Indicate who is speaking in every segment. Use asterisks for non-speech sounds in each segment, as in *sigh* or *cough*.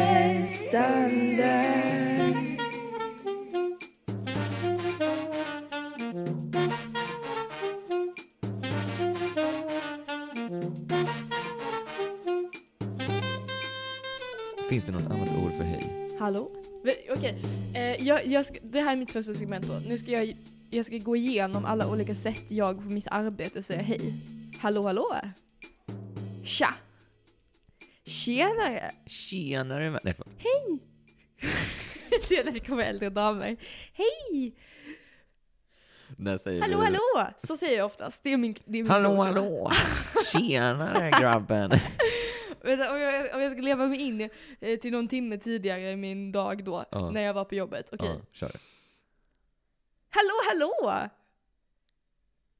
Speaker 1: Nästan där.
Speaker 2: Finns det något annat ord för hej?
Speaker 3: Hallå?
Speaker 1: Okej, eh, jag, jag ska, det här är mitt första segment då. Nu ska jag, jag ska gå igenom alla olika sätt jag på mitt arbete säger hej. Hallå hallå! Tja! Tjenare! *laughs*
Speaker 2: Tjenare med... Nej, förlåt.
Speaker 1: Det lät kommer äldre damer. Hej!
Speaker 2: När säger
Speaker 1: Hallå
Speaker 2: du?
Speaker 1: hallå! Så säger jag oftast. Det är min, det är min
Speaker 2: Hallå,
Speaker 1: go-to.
Speaker 2: hallå! Tjenare *laughs* grabben!
Speaker 1: Vänta, Om jag, om jag ska leva mig in eh, till någon timme tidigare i min dag då,
Speaker 2: Ja.
Speaker 1: när jag var på jobbet. Okej.
Speaker 2: Ja, kör.
Speaker 1: Hallå, hallå!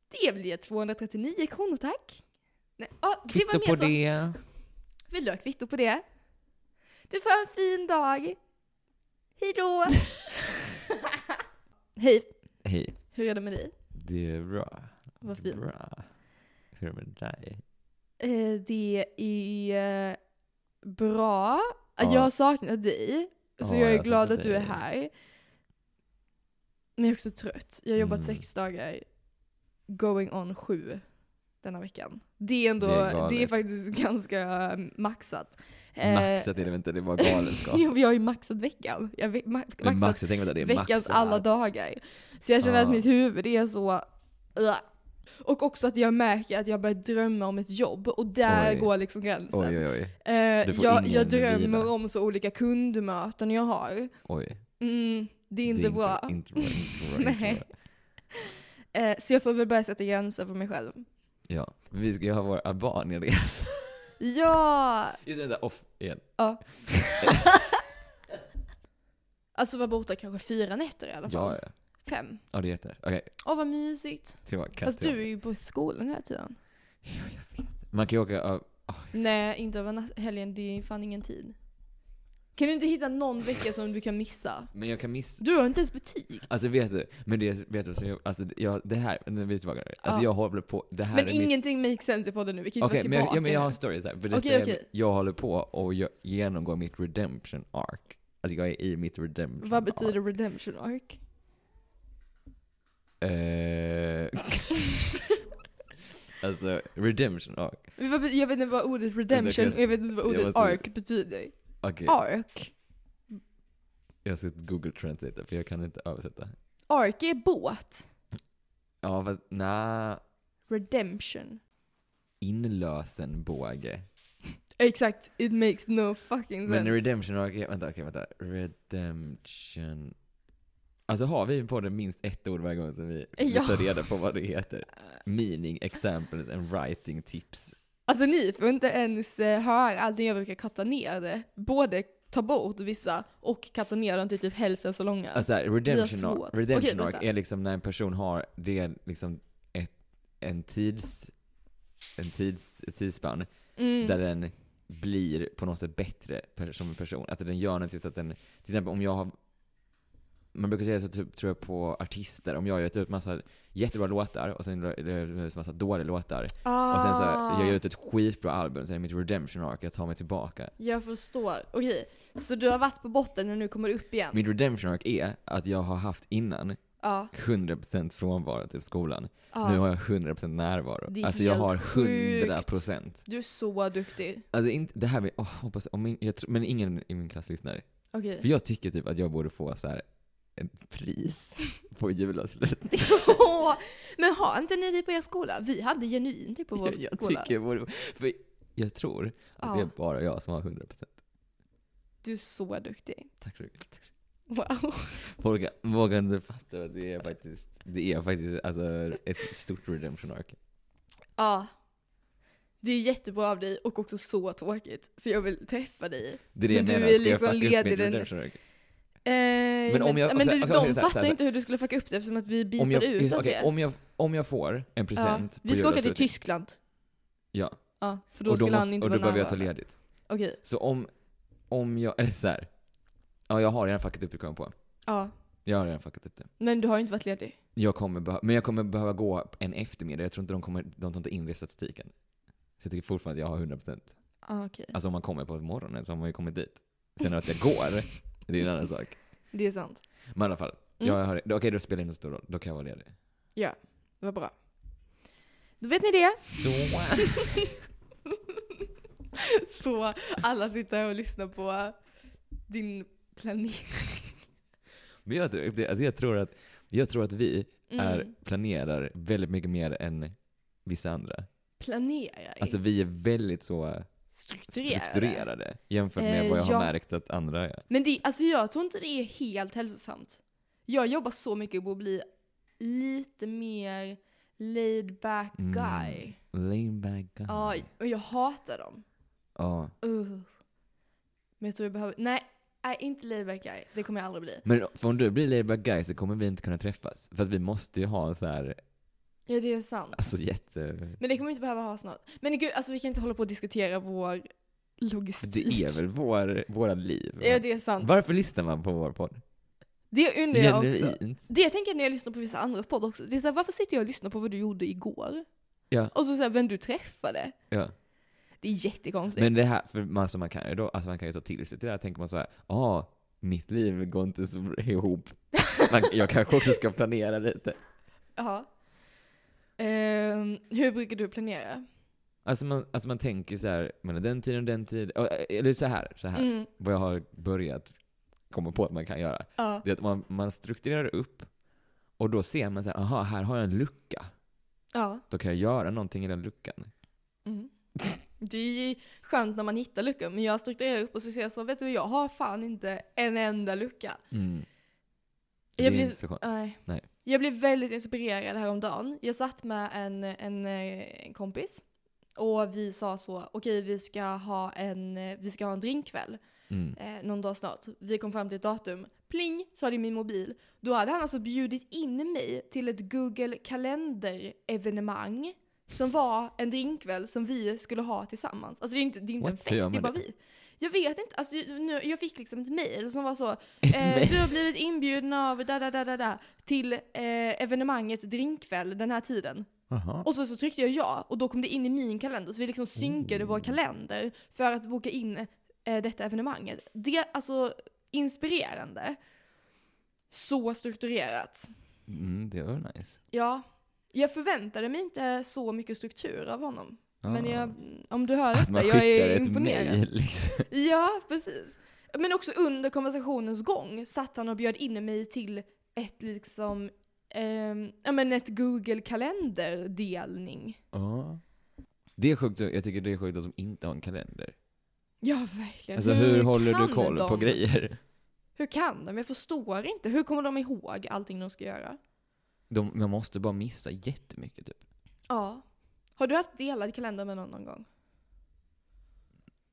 Speaker 1: Det blir 239 kronor tack. Nej, ah, det var
Speaker 2: Kvitto
Speaker 1: mer
Speaker 2: på
Speaker 1: så.
Speaker 2: det.
Speaker 1: Vill du ha kvitto på det? Du får ha en fin dag. Hej
Speaker 2: *laughs*
Speaker 1: då! Hej,
Speaker 2: Hej.
Speaker 1: hur är det med dig?
Speaker 2: Det är bra.
Speaker 1: Vad
Speaker 2: Det är
Speaker 1: fint.
Speaker 2: Bra. Hur är det med dig?
Speaker 1: Eh, det är eh, bra.
Speaker 2: Ja.
Speaker 1: Jag har saknat dig, så
Speaker 2: Ja,
Speaker 1: jag är
Speaker 2: jag har
Speaker 1: glad
Speaker 2: saknat
Speaker 1: att du är
Speaker 2: dig.
Speaker 1: här. Men jag är också trött. Jag har jobbat
Speaker 2: Mm.
Speaker 1: sex dagar, going on sju denna veckan. Det är ändå,
Speaker 2: Det är
Speaker 1: det är,
Speaker 2: galet.
Speaker 1: faktiskt *laughs* ganska eh, maxat. Eh,
Speaker 2: Maxat
Speaker 1: *laughs*
Speaker 2: är det inte, det var galenskap.
Speaker 1: jag har ju maxat veckan. Jag har ve- ma-
Speaker 2: Det är
Speaker 1: maxat
Speaker 2: Maxat, tänk vänta, det är
Speaker 1: veckans
Speaker 2: maxat.
Speaker 1: alla dagar. Så jag känner
Speaker 2: Ja.
Speaker 1: att mitt huvud är så... Ugh. Och också att jag märker att jag börjar drömma om ett jobb och där
Speaker 2: Oj.
Speaker 1: går liksom gränsen.
Speaker 2: Oj, oj, oj.
Speaker 1: Eh,
Speaker 2: Du får
Speaker 1: jag, jag
Speaker 2: ingen
Speaker 1: drömmer
Speaker 2: vila.
Speaker 1: om så olika kundmöten jag har.
Speaker 2: oj.
Speaker 1: Mm, det är inte bra.
Speaker 2: Inte bra, inte bra, inte
Speaker 1: Nej.
Speaker 2: bra.
Speaker 1: Eh, så jag får väl börja sätta gränser för mig själv.
Speaker 2: Ja. Vi ska ju ha vår *laughs* Albanien-resa.
Speaker 1: Ja!
Speaker 2: Just det, vänta, off igen.
Speaker 1: ja. alltså vara borta kanske fyra nätter i alla fall.
Speaker 2: Ja, ja.
Speaker 1: Fem.
Speaker 2: Ja, det heter Okej,
Speaker 1: Åh vad mysigt.
Speaker 2: tillbaka.
Speaker 1: Fast du är
Speaker 2: tillbaka.
Speaker 1: ju på skolan hela tiden.
Speaker 2: Man kan ju åka av...
Speaker 1: Nej, inte över nat- helgen. Det är fan ingen tid. Kan du inte hitta någon vecka som du kan missa?
Speaker 2: Men jag kan missa...
Speaker 1: Du har inte ens betyg.
Speaker 2: Alltså vet du, men det, vet du, så jag, alltså, jag, det här, nu är vi tillbaka nu. Alltså
Speaker 1: Ja.
Speaker 2: jag håller på, det här
Speaker 1: Men
Speaker 2: är mitt...
Speaker 1: ingenting makes sense i podden nu. Vi kan ju
Speaker 2: Okej,
Speaker 1: inte
Speaker 2: men,
Speaker 1: vara
Speaker 2: jag,
Speaker 1: tillbaka
Speaker 2: ja, men jag har
Speaker 1: nu.
Speaker 2: en story så här. För detta
Speaker 1: Okej,
Speaker 2: är-
Speaker 1: okej.
Speaker 2: Jag håller på och jag genomgår mitt redemption arc. Alltså jag är i mitt redemption
Speaker 1: Vad betyder redemption arc?
Speaker 2: arc. Eh, *laughs* alltså, redemption arc.
Speaker 1: Men vad be- Jag vet inte vad ordet redemption
Speaker 2: jag-
Speaker 1: och jag vet inte vad
Speaker 2: jag
Speaker 1: ordet
Speaker 2: måste-
Speaker 1: arc betyder.
Speaker 2: Okej,
Speaker 1: Arc.
Speaker 2: jag ska google translate för jag kan inte översätta.
Speaker 1: Arc är båt.
Speaker 2: Ja, fast nja,
Speaker 1: Redemption.
Speaker 2: inlösenbåge.
Speaker 1: Exakt, it makes no fucking sense.
Speaker 2: Men redemption arc, är- vänta, okej, vänta. Redemption. Alltså har vi på det minst ett ord varje gång som vi vi
Speaker 1: *laughs* Ja.
Speaker 2: tar reda på vad det heter? Meaning, examples and writing tips.
Speaker 1: Alltså ni får inte ens eh, höra allting jag brukar katta ner det. Både ta bort vissa och katta ner dem till typ hälften så långa.
Speaker 2: Alltså här, redemption,
Speaker 1: svårt.
Speaker 2: arc, redemption
Speaker 1: Okej,
Speaker 2: arc
Speaker 1: vänta.
Speaker 2: är liksom när en person har, det är liksom ett, en tids, en tids, ett tidsspann
Speaker 1: mm.
Speaker 2: där den blir på något sätt bättre per, som en person. Alltså den gör någonting så att den, till exempel om jag har man brukar säga så typ, tror jag på artister, om jag har gett ut massa jättebra låtar och sen är det massa dåliga låtar.
Speaker 1: ah,
Speaker 2: Och sen så jag gör ut ett skitbra album, sen är mitt redemption arc, jag tar mig tillbaka.
Speaker 1: jag förstår. Okej, så du har varit på botten och nu kommer du upp igen?
Speaker 2: Mitt redemption arc är att jag har haft innan
Speaker 1: Ja. 100%
Speaker 2: 100% frånvaro till skolan.
Speaker 1: ja.
Speaker 2: Nu har jag 100% närvaro.
Speaker 1: Ah. Det är
Speaker 2: alltså jag
Speaker 1: helt
Speaker 2: har 100%.
Speaker 1: Du är så duktig.
Speaker 2: Alltså inte, det här med, åh, hoppas, om min, jag tror, men ingen i min klass lyssnar.
Speaker 1: Okej.
Speaker 2: För jag tycker typ att jag borde få så här ett
Speaker 1: *laughs*
Speaker 2: pris på julavslutning.
Speaker 1: Åh, *laughs* men har inte ni det på er skola? Vi hade genuint det på vår
Speaker 2: Jag, *laughs* jag
Speaker 1: skola.
Speaker 2: tycker jag borde, för jag tror att det
Speaker 1: ja,
Speaker 2: är bara jag som har 100%.
Speaker 1: Du är så duktig.
Speaker 2: Tack så mycket. Tack så mycket.
Speaker 1: Wow.
Speaker 2: Folk vågar inte fatta att det är faktiskt, det är faktiskt alltså ett stort redemption arc.
Speaker 1: Ja. Det är jättebra av dig och också så tråkigt. För jag vill träffa dig. Eh,
Speaker 2: Det är det jag
Speaker 1: Men du
Speaker 2: menar,
Speaker 1: är
Speaker 2: ska jag
Speaker 1: liksom
Speaker 2: fucka
Speaker 1: led
Speaker 2: upp
Speaker 1: i
Speaker 2: mitt
Speaker 1: den-
Speaker 2: redemption arc?
Speaker 1: men
Speaker 2: om
Speaker 1: men
Speaker 2: jag- okej,
Speaker 1: du,
Speaker 2: okej,
Speaker 1: de
Speaker 2: okej, så här,
Speaker 1: fattar
Speaker 2: så här.
Speaker 1: inte hur du skulle fucka upp det eftersom att vi
Speaker 2: Om
Speaker 1: bipade
Speaker 2: jag,
Speaker 1: ut allt
Speaker 2: okej,
Speaker 1: det.
Speaker 2: om, jag, om jag får en present
Speaker 1: ja. Vi ska
Speaker 2: på
Speaker 1: åka till
Speaker 2: julavslutning-
Speaker 1: Tyskland.
Speaker 2: Ja,
Speaker 1: Ja, för då,
Speaker 2: och då,
Speaker 1: skulle
Speaker 2: måste,
Speaker 1: han inte
Speaker 2: och då
Speaker 1: vara
Speaker 2: behöver jag ta
Speaker 1: närvarande.
Speaker 2: ledigt.
Speaker 1: Okej.
Speaker 2: Så om, om jag, *laughs* eller så här. Ja, jag har redan fuckat upp det kom jag på.
Speaker 1: Ja.
Speaker 2: Jag har redan fuckat upp det.
Speaker 1: Men du har ju inte varit ledig.
Speaker 2: Jag kommer behö- men jag kommer behöva gå en eftermiddag. Jag tror inte de kommer, de tar inte in det i statistiken. Så jag tycker fortfarande att jag har 100%.
Speaker 1: Ah, okej.
Speaker 2: Alltså om man kommer på morgonen så har man ju kommit dit. Sen att jag går, *laughs* det är en annan sak.
Speaker 1: Det är sant.
Speaker 2: Men i alla fall,
Speaker 1: Mm.
Speaker 2: jag har, okej då spelar det inte så stor roll. Då kan jag vara ledig.
Speaker 1: Det var bra. Då vet ni det.
Speaker 2: Så.
Speaker 1: *laughs* Så alla sitter här och lyssnar på din planering.
Speaker 2: Men jag, tror- det- alltså jag, tror att, jag tror att vi är,
Speaker 1: Mm.
Speaker 2: planerar väldigt mycket mer än vissa andra.
Speaker 1: Planera.
Speaker 2: Alltså vi är väldigt så
Speaker 1: strukturera.
Speaker 2: strukturerade jämfört med
Speaker 1: Eh,
Speaker 2: vad jag
Speaker 1: ja.
Speaker 2: har märkt att andra är.
Speaker 1: Men det, alltså jag tror inte det är helt hälsosamt. Jag jobbar så mycket på att bli lite mer laid back
Speaker 2: Mm.
Speaker 1: guy.
Speaker 2: Lean back guy.
Speaker 1: Ja, och jag hatar dem.
Speaker 2: Ja.
Speaker 1: Uh. Men jag tror jag behöver... Nej, nej inte laid back guy. Det kommer jag aldrig bli.
Speaker 2: Men för om du blir laid back guy så kommer vi inte kunna träffas. För att vi måste ju ha så här,
Speaker 1: Ja, det är sant.
Speaker 2: alltså jätte...
Speaker 1: Men det kommer vi inte behöva ha snart. Men gud, alltså vi kan inte hålla på och diskutera vår logistik.
Speaker 2: Det är väl vår, våra liv? va?
Speaker 1: Ja, det är sant.
Speaker 2: Varför lyssnar man på vår podd?
Speaker 1: Det undrar jag också.
Speaker 2: Genuint.
Speaker 1: Det jag tänker när jag lyssnar på vissa andras podd också. Det är såhär, varför sitter jag och lyssnar på vad du gjorde igår?
Speaker 2: Ja.
Speaker 1: Och så såhär, vem du träffade.
Speaker 2: Ja.
Speaker 1: Det är jättekonstigt.
Speaker 2: Men det här, för man, alltså man kan ju då, alltså man kan ju ta till sig till det här, tänker man så här, ah, mitt liv går inte så
Speaker 1: *laughs*
Speaker 2: ihop. Man, jag kanske också ska planera lite.
Speaker 1: Ja. Ehm, hur brukar du planera?
Speaker 2: Alltså man, alltså man tänker så här, mellan den tiden och den tiden, och, eh, eller så här, så här,
Speaker 1: Mm,
Speaker 2: vad jag har börjat komma på att man kan göra.
Speaker 1: ja.
Speaker 2: Det är att man, man strukturerar upp, och då ser man så här, aha, här har jag en lucka.
Speaker 1: ja.
Speaker 2: Då kan jag göra någonting i den luckan.
Speaker 1: Mm. Det är ju skönt när man hittar luckor, men jag strukturerar upp och så ser jag så, vet du jag har fan inte en enda lucka.
Speaker 2: Mm, Det är
Speaker 1: Jag blir-
Speaker 2: inte så skönt.
Speaker 1: Nej.
Speaker 2: Nej.
Speaker 1: Jag blev väldigt inspirerad häromdagen. Jag satt med en, en, eh, en kompis och vi sa så, okej vi ska ha en, eh, vi ska ha en drinkkväll
Speaker 2: Mm.
Speaker 1: eh, någon dag snart. Vi kom fram till ett datum. Pling, sa det i min mobil. Då hade han alltså bjudit in mig till ett Google kalender-evenemang som var en drinkväll som vi skulle ha tillsammans. Alltså det är inte, det är inte en
Speaker 2: What? Hur gör
Speaker 1: fest, det är
Speaker 2: man
Speaker 1: bara
Speaker 2: det?
Speaker 1: vi. Jag vet inte, alltså, nu, jag fick liksom ett mejl som var så,
Speaker 2: *laughs* Ett
Speaker 1: Eh,
Speaker 2: mejl.
Speaker 1: du har blivit inbjuden av da, da, da, da, da, till eh, evenemanget Drinkkväll den här tiden.
Speaker 2: Jaha.
Speaker 1: Och så, så tryckte jag ja och då kom det in i min kalender. Så vi liksom synkade
Speaker 2: Mm.
Speaker 1: vår kalender för att boka in eh, detta evenemanget. Det är alltså inspirerande. Så strukturerat.
Speaker 2: Mm, det var nice.
Speaker 1: Ja, jag förväntade mig inte så mycket struktur av honom. Men
Speaker 2: Ah.
Speaker 1: jag, om du hör
Speaker 2: Att Alltså, man
Speaker 1: detta,
Speaker 2: skickar
Speaker 1: jag är
Speaker 2: ett
Speaker 1: imponerad.
Speaker 2: mejl liksom.
Speaker 1: Ja, precis. Men också under konversationens gång satt han och bjöd in mig till ett liksom, ehm, ja men ett Google kalenderdelning.
Speaker 2: Ja. Det är sjukt, jag tycker det är sjukt de som inte har en kalender.
Speaker 1: Ja, verkligen.
Speaker 2: Alltså hur, håller du
Speaker 1: kan
Speaker 2: koll på
Speaker 1: de?
Speaker 2: grejer?
Speaker 1: Hur kan de? Jag förstår inte. Hur kommer de ihåg allting de ska göra?
Speaker 2: De, man måste bara missa jättemycket typ.
Speaker 1: Ja. Har du haft delad kalender med någon någon gång?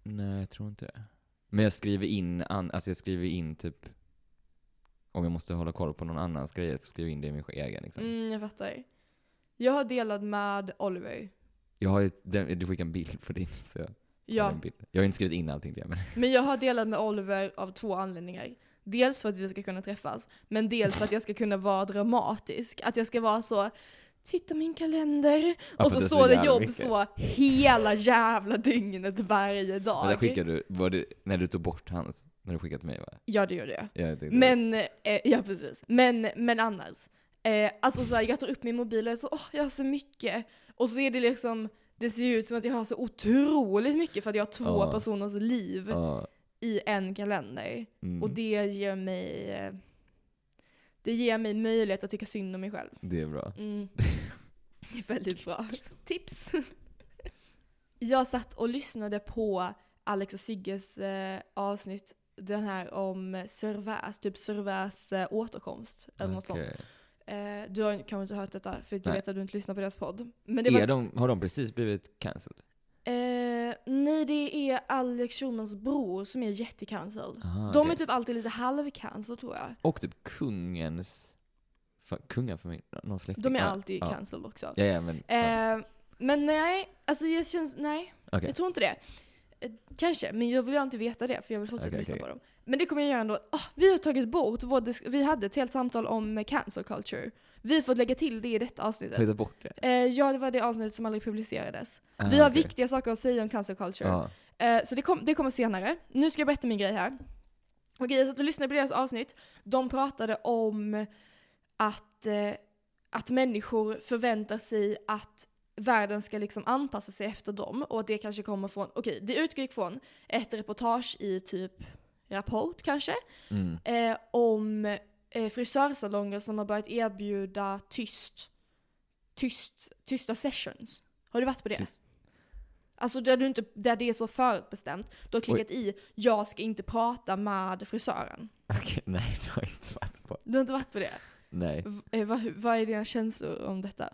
Speaker 2: Nej, jag tror inte det. Men jag skriver in, an, alltså jag skriver in typ om jag måste hålla koll på någon annans grejer, jag skriver in det i min egen liksom.
Speaker 1: Mm, jag fattar. Jag har delat med Oliver.
Speaker 2: Jag har ju, den, du skickade en bild på din, så jag, har
Speaker 1: Ja,
Speaker 2: en bild. jag har inte skrivit in allting till det, men
Speaker 1: men jag har delat med Oliver av två anledningar. Dels för att vi ska kunna träffas, men dels för att jag ska kunna vara dramatisk. Att jag ska vara så, titta min kalender.
Speaker 2: Ja,
Speaker 1: och så
Speaker 2: för Alltså, det är så
Speaker 1: står det
Speaker 2: jävla
Speaker 1: jobb
Speaker 2: mycket.
Speaker 1: så hela jävla dygnet varje
Speaker 2: men där
Speaker 1: dag.
Speaker 2: skickade du, var det, när du tog bort hans, när du skickade till mig va?
Speaker 1: Ja, det gjorde jag.
Speaker 2: Jag tänkte-
Speaker 1: Men, eh, ja precis. Men, men annars. Eh, alltså så här, jag tar upp min mobil och är så, åh, jag har så mycket. Och så är det liksom, det ser ju ut som att jag har så otroligt mycket för att jag har två
Speaker 2: Ja.
Speaker 1: personers liv
Speaker 2: Ja,
Speaker 1: i en kalender.
Speaker 2: mm,
Speaker 1: Och det ger mig, eh, det ger mig möjlighet att tycka synd om mig själv.
Speaker 2: det är bra.
Speaker 1: Mm. *laughs* Det är väldigt bra. Tips! *laughs* Jag satt och lyssnade på Alex och Sigges eh, avsnitt, den här om Servais, typ Servais eh, återkomst eller något sånt.
Speaker 2: Okej.
Speaker 1: Eh, du har ju kanske inte hört detta för att jag
Speaker 2: Nej.
Speaker 1: vet att du inte lyssnar på deras podd. Men det var,
Speaker 2: är de, har de precis blivit cancelled?
Speaker 1: eh, nej, det är Alex Schulmans bror som är jättecancelled.
Speaker 2: Aha,
Speaker 1: De är
Speaker 2: Ah, okej.
Speaker 1: typ alltid lite halvcancelled tror jag.
Speaker 2: Och typ kungens... fa- Kungafamilj? Någon släkting?
Speaker 1: De är
Speaker 2: typ. Ja,
Speaker 1: alltid
Speaker 2: ja.
Speaker 1: cancelled också.
Speaker 2: Ja, ja, men... ja,
Speaker 1: Eh, men nej, alltså jag känns, nej.
Speaker 2: Okej.
Speaker 1: Jag tror inte det. Eh, Kanske, men jag vill inte veta det för jag vill fortsätta
Speaker 2: Okej,
Speaker 1: lyssna
Speaker 2: okej.
Speaker 1: på dem. Men det kommer jag göra ändå. Ah, vi har tagit bort vår disk- Vi hade ett helt samtal om eh, cancel culture. Vi får lägga till det i detta
Speaker 2: Har vi
Speaker 1: avsnittet.
Speaker 2: tagit bort det?
Speaker 1: Eh, ja, det var det avsnittet som aldrig publicerades.
Speaker 2: Ah,
Speaker 1: vi har
Speaker 2: okej.
Speaker 1: viktiga saker att säga om cancel culture.
Speaker 2: Ja.
Speaker 1: Eh, så det, kom, det kommer senare. Nu ska jag berätta min grej här. Okej, jag satt och lyssnade på deras avsnitt. De pratade om att, eh, att människor förväntar sig att världen ska liksom anpassa sig efter dem och att det kanske kommer från, okej, det utgick från ett reportage i typ Rapport kanske,
Speaker 2: Mm.
Speaker 1: eh, om eh, frisörsalonger som har börjat erbjuda tyst, tyst, tysta sessions. Har du varit på det?
Speaker 2: Tyst.
Speaker 1: Alltså där, du inte, där det är så förutbestämt. Du har klickat i “jag ska inte prata med frisören”.
Speaker 2: *laughs* Okej, nej det har jag inte varit på.
Speaker 1: Du har inte varit på det?
Speaker 2: Nej.
Speaker 1: V- eh, vad, vad är dina känslor om detta?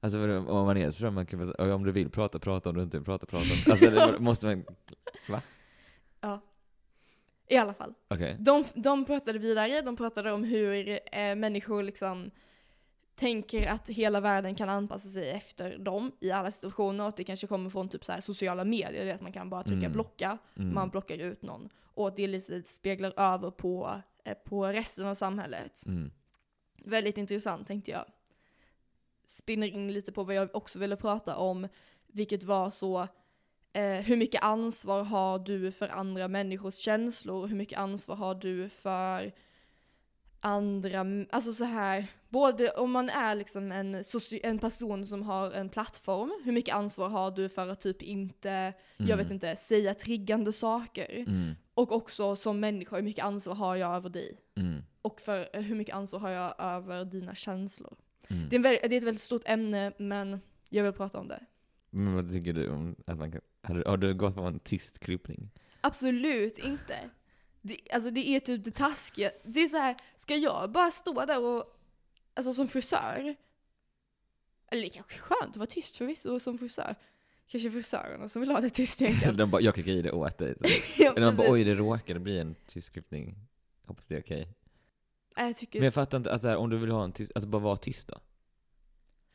Speaker 2: Alltså vadå, om man är så tror jag man kan bara säga, om du vill prata, prata. Om du inte vill prata, prata. Alltså det måste man,
Speaker 1: I alla fall.
Speaker 2: okej.
Speaker 1: De, de pratade vidare, de pratade om hur eh, människor liksom tänker att hela världen kan anpassa sig efter dem i alla situationer. Och att det kanske kommer från typ så här sociala medier, det är att man kan bara trycka
Speaker 2: Mm.
Speaker 1: blocka,
Speaker 2: Mm.
Speaker 1: man blockar ut någon. Och att det lite speglar över på, eh, på resten av samhället.
Speaker 2: Mm.
Speaker 1: Väldigt intressant tänkte jag. Spinner in lite på vad jag också ville prata om, vilket var så eh, hur mycket ansvar har du för andra människors känslor? Hur mycket ansvar har du för andra, alltså så här, både om man är liksom en, soci- en person som har en plattform, hur mycket ansvar har du för att typ inte, jag vet inte, säga triggande saker?
Speaker 2: Mm.
Speaker 1: Och också som människa, hur mycket ansvar har jag över dig?
Speaker 2: Mm.
Speaker 1: Och för eh, hur mycket ansvar har jag över dina känslor?
Speaker 2: Mm.
Speaker 1: Det, är en väl- det är ett väldigt stort ämne, men jag vill prata om det.
Speaker 2: Men vad tycker du om att man kan, har du, har du gått på en tyst krypning?
Speaker 1: Absolut inte. Det, alltså det är typ det taskiga. Det är så här, ska jag bara stå där och, alltså som frisör? Eller det är kanske är skönt att vara tyst förvisso som frisör. Kanske frisörerna som vill ha det tyst egentligen.
Speaker 2: *laughs* De bara, jag klickar i det åt dig.
Speaker 1: Ja,
Speaker 2: *laughs* Eller man bara,
Speaker 1: precis.
Speaker 2: oj det råkade bli en tyst krypning. Hoppas det är okej.
Speaker 1: Nej, jag tycker,
Speaker 2: Men jag fattar inte, alltså, här, om du vill ha en tyst, alltså bara vara tyst då?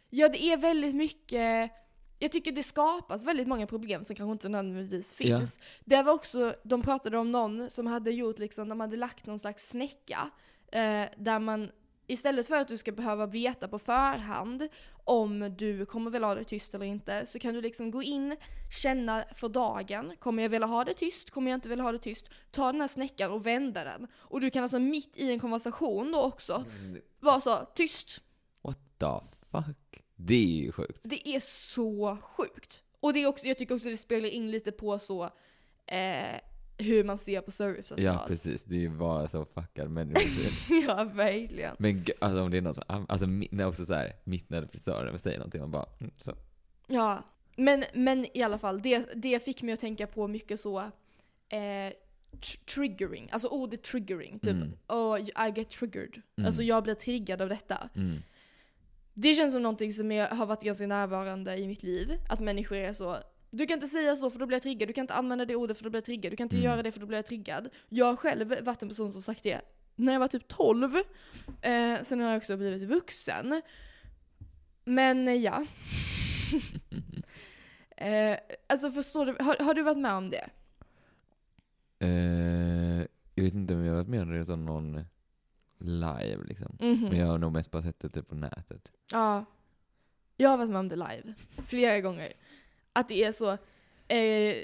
Speaker 1: Ja det är väldigt mycket, jag tycker det skapas väldigt många problem som kanske inte nödvändigtvis finns. Det var också, de pratade om någon som hade gjort liksom, de hade lagt någon slags snäcka eh, där man Istället för att du ska behöva veta på förhand om du kommer vilja ha det tyst eller inte så kan du liksom gå in, känna för dagen, kommer jag vilja ha det tyst, kommer jag inte vilja ha det tyst, ta den här snäckan och vända den. Och du kan alltså mitt i en konversation då också vara så, tyst,
Speaker 2: What the fuck? Det är ju sjukt.
Speaker 1: det är så sjukt. Och det är också, jag tycker också det speglar in lite på så eh, hur man ser på servicepersonal.
Speaker 2: Ja precis, det är ju bara så fuckad människor.
Speaker 1: *laughs* ja, verkligen.
Speaker 2: Men g- alltså om det är någon som, an- alltså mi- när också såhär, mitt när frisören säger någonting, man bara mm, så.
Speaker 1: Ja. Men, men i alla fall, det, det fick mig att tänka på mycket så eh, tr- triggering, alltså ordet triggering. Typ,
Speaker 2: Mm.
Speaker 1: oh, I get triggered.
Speaker 2: Mm.
Speaker 1: Alltså jag blir triggad av detta.
Speaker 2: Mm.
Speaker 1: Det känns som någonting som är, har varit ganska närvarande i mitt liv. Att människor är så du kan inte säga så för då blir jag triggad, du kan inte använda det ordet för då blir jag triggad, du kan inte
Speaker 2: Mm.
Speaker 1: göra det för då blir jag triggad. Jag har själv varit en person som sagt det när jag var typ 12. Eh, sen har jag också blivit vuxen. Men eh, ja. eh, alltså förstår du, har, har du varit med om det?
Speaker 2: Eh, jag vet inte om jag har varit med om det som någon live liksom.
Speaker 1: Mhm.
Speaker 2: Men jag har nog mest bara sett det typ på nätet.
Speaker 1: Ja. Jag har varit med om det live flera gånger. Att det är så, eh,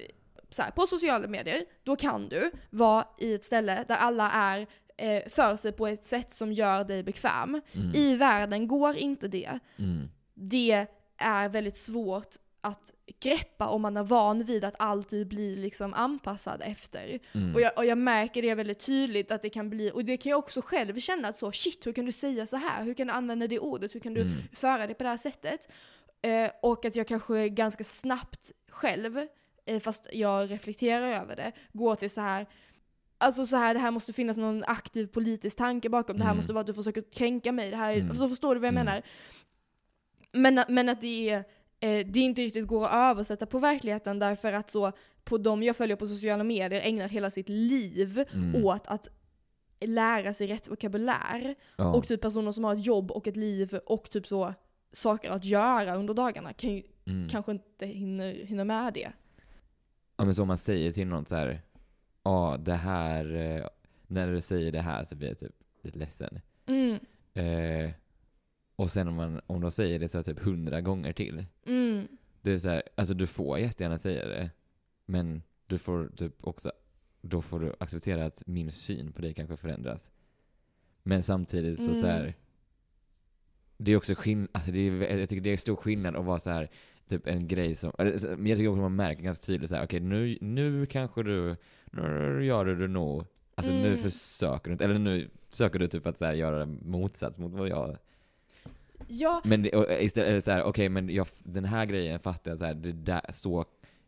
Speaker 1: så här, på sociala medier, då kan du vara i ett ställe där alla är eh, för sig på ett sätt som gör dig bekväm.
Speaker 2: Mm.
Speaker 1: I världen går inte det.
Speaker 2: Mm.
Speaker 1: Det är väldigt svårt att greppa om man är van vid att alltid bli liksom anpassad efter.
Speaker 2: Mm.
Speaker 1: Och jag, och jag märker det väldigt tydligt att det kan bli, och det kan jag också själv känna att så shit, hur kan du säga så här? Hur kan du använda det ordet? Hur kan du
Speaker 2: Mm.
Speaker 1: föra det på det här sättet. Eh, och att jag kanske ganska snabbt själv, eh, fast jag reflekterar över det, går till så här Alltså så här, det här måste finnas någon aktiv politisk tanke bakom. Det här
Speaker 2: Mm.
Speaker 1: måste vara att du försöker kränka mig. Det här är,
Speaker 2: Mm.
Speaker 1: Så förstår du vad jag
Speaker 2: Mm.
Speaker 1: menar? Men, att- men att det, är, eh, det inte riktigt går att översätta på verkligheten därför att så på de jag följer på sociala medier ägnar hela sitt liv
Speaker 2: Mm.
Speaker 1: åt att lära sig rätt vokabulär.
Speaker 2: Ja.
Speaker 1: Och typ personer som har ett jobb och ett liv och typ så saker att göra under dagarna kan ju,
Speaker 2: Mm.
Speaker 1: kanske inte hinner, hinner med det.
Speaker 2: Ja men så om man säger till någon så här. Ja det här, eh, när du säger det här så blir jag typ lite ledsen.
Speaker 1: Mm,
Speaker 2: Eh, och sen om, man, om de säger det så här typ hundra gånger till.
Speaker 1: mm,
Speaker 2: Det är så här, alltså du får jättegärna säga det, men du får typ också, då får du acceptera att min syn på dig kanske förändras. Men samtidigt så, så här,
Speaker 1: Mm.
Speaker 2: det är också skillnad, alltså det är, jag tycker det är stor skillnad att vara så här typ en grej som, eller så- men jag tycker också man märker ganska tydligt så här, okej nu, nu kanske du, nu gör du det nog, alltså nu
Speaker 1: Mm.
Speaker 2: försöker du inte, eller nu försöker du typ att så här göra motsats mot vad jag
Speaker 1: Ja,
Speaker 2: men det, och eh, istället är det så här, okej men jag, den här grejen fattar jag så här, det där, så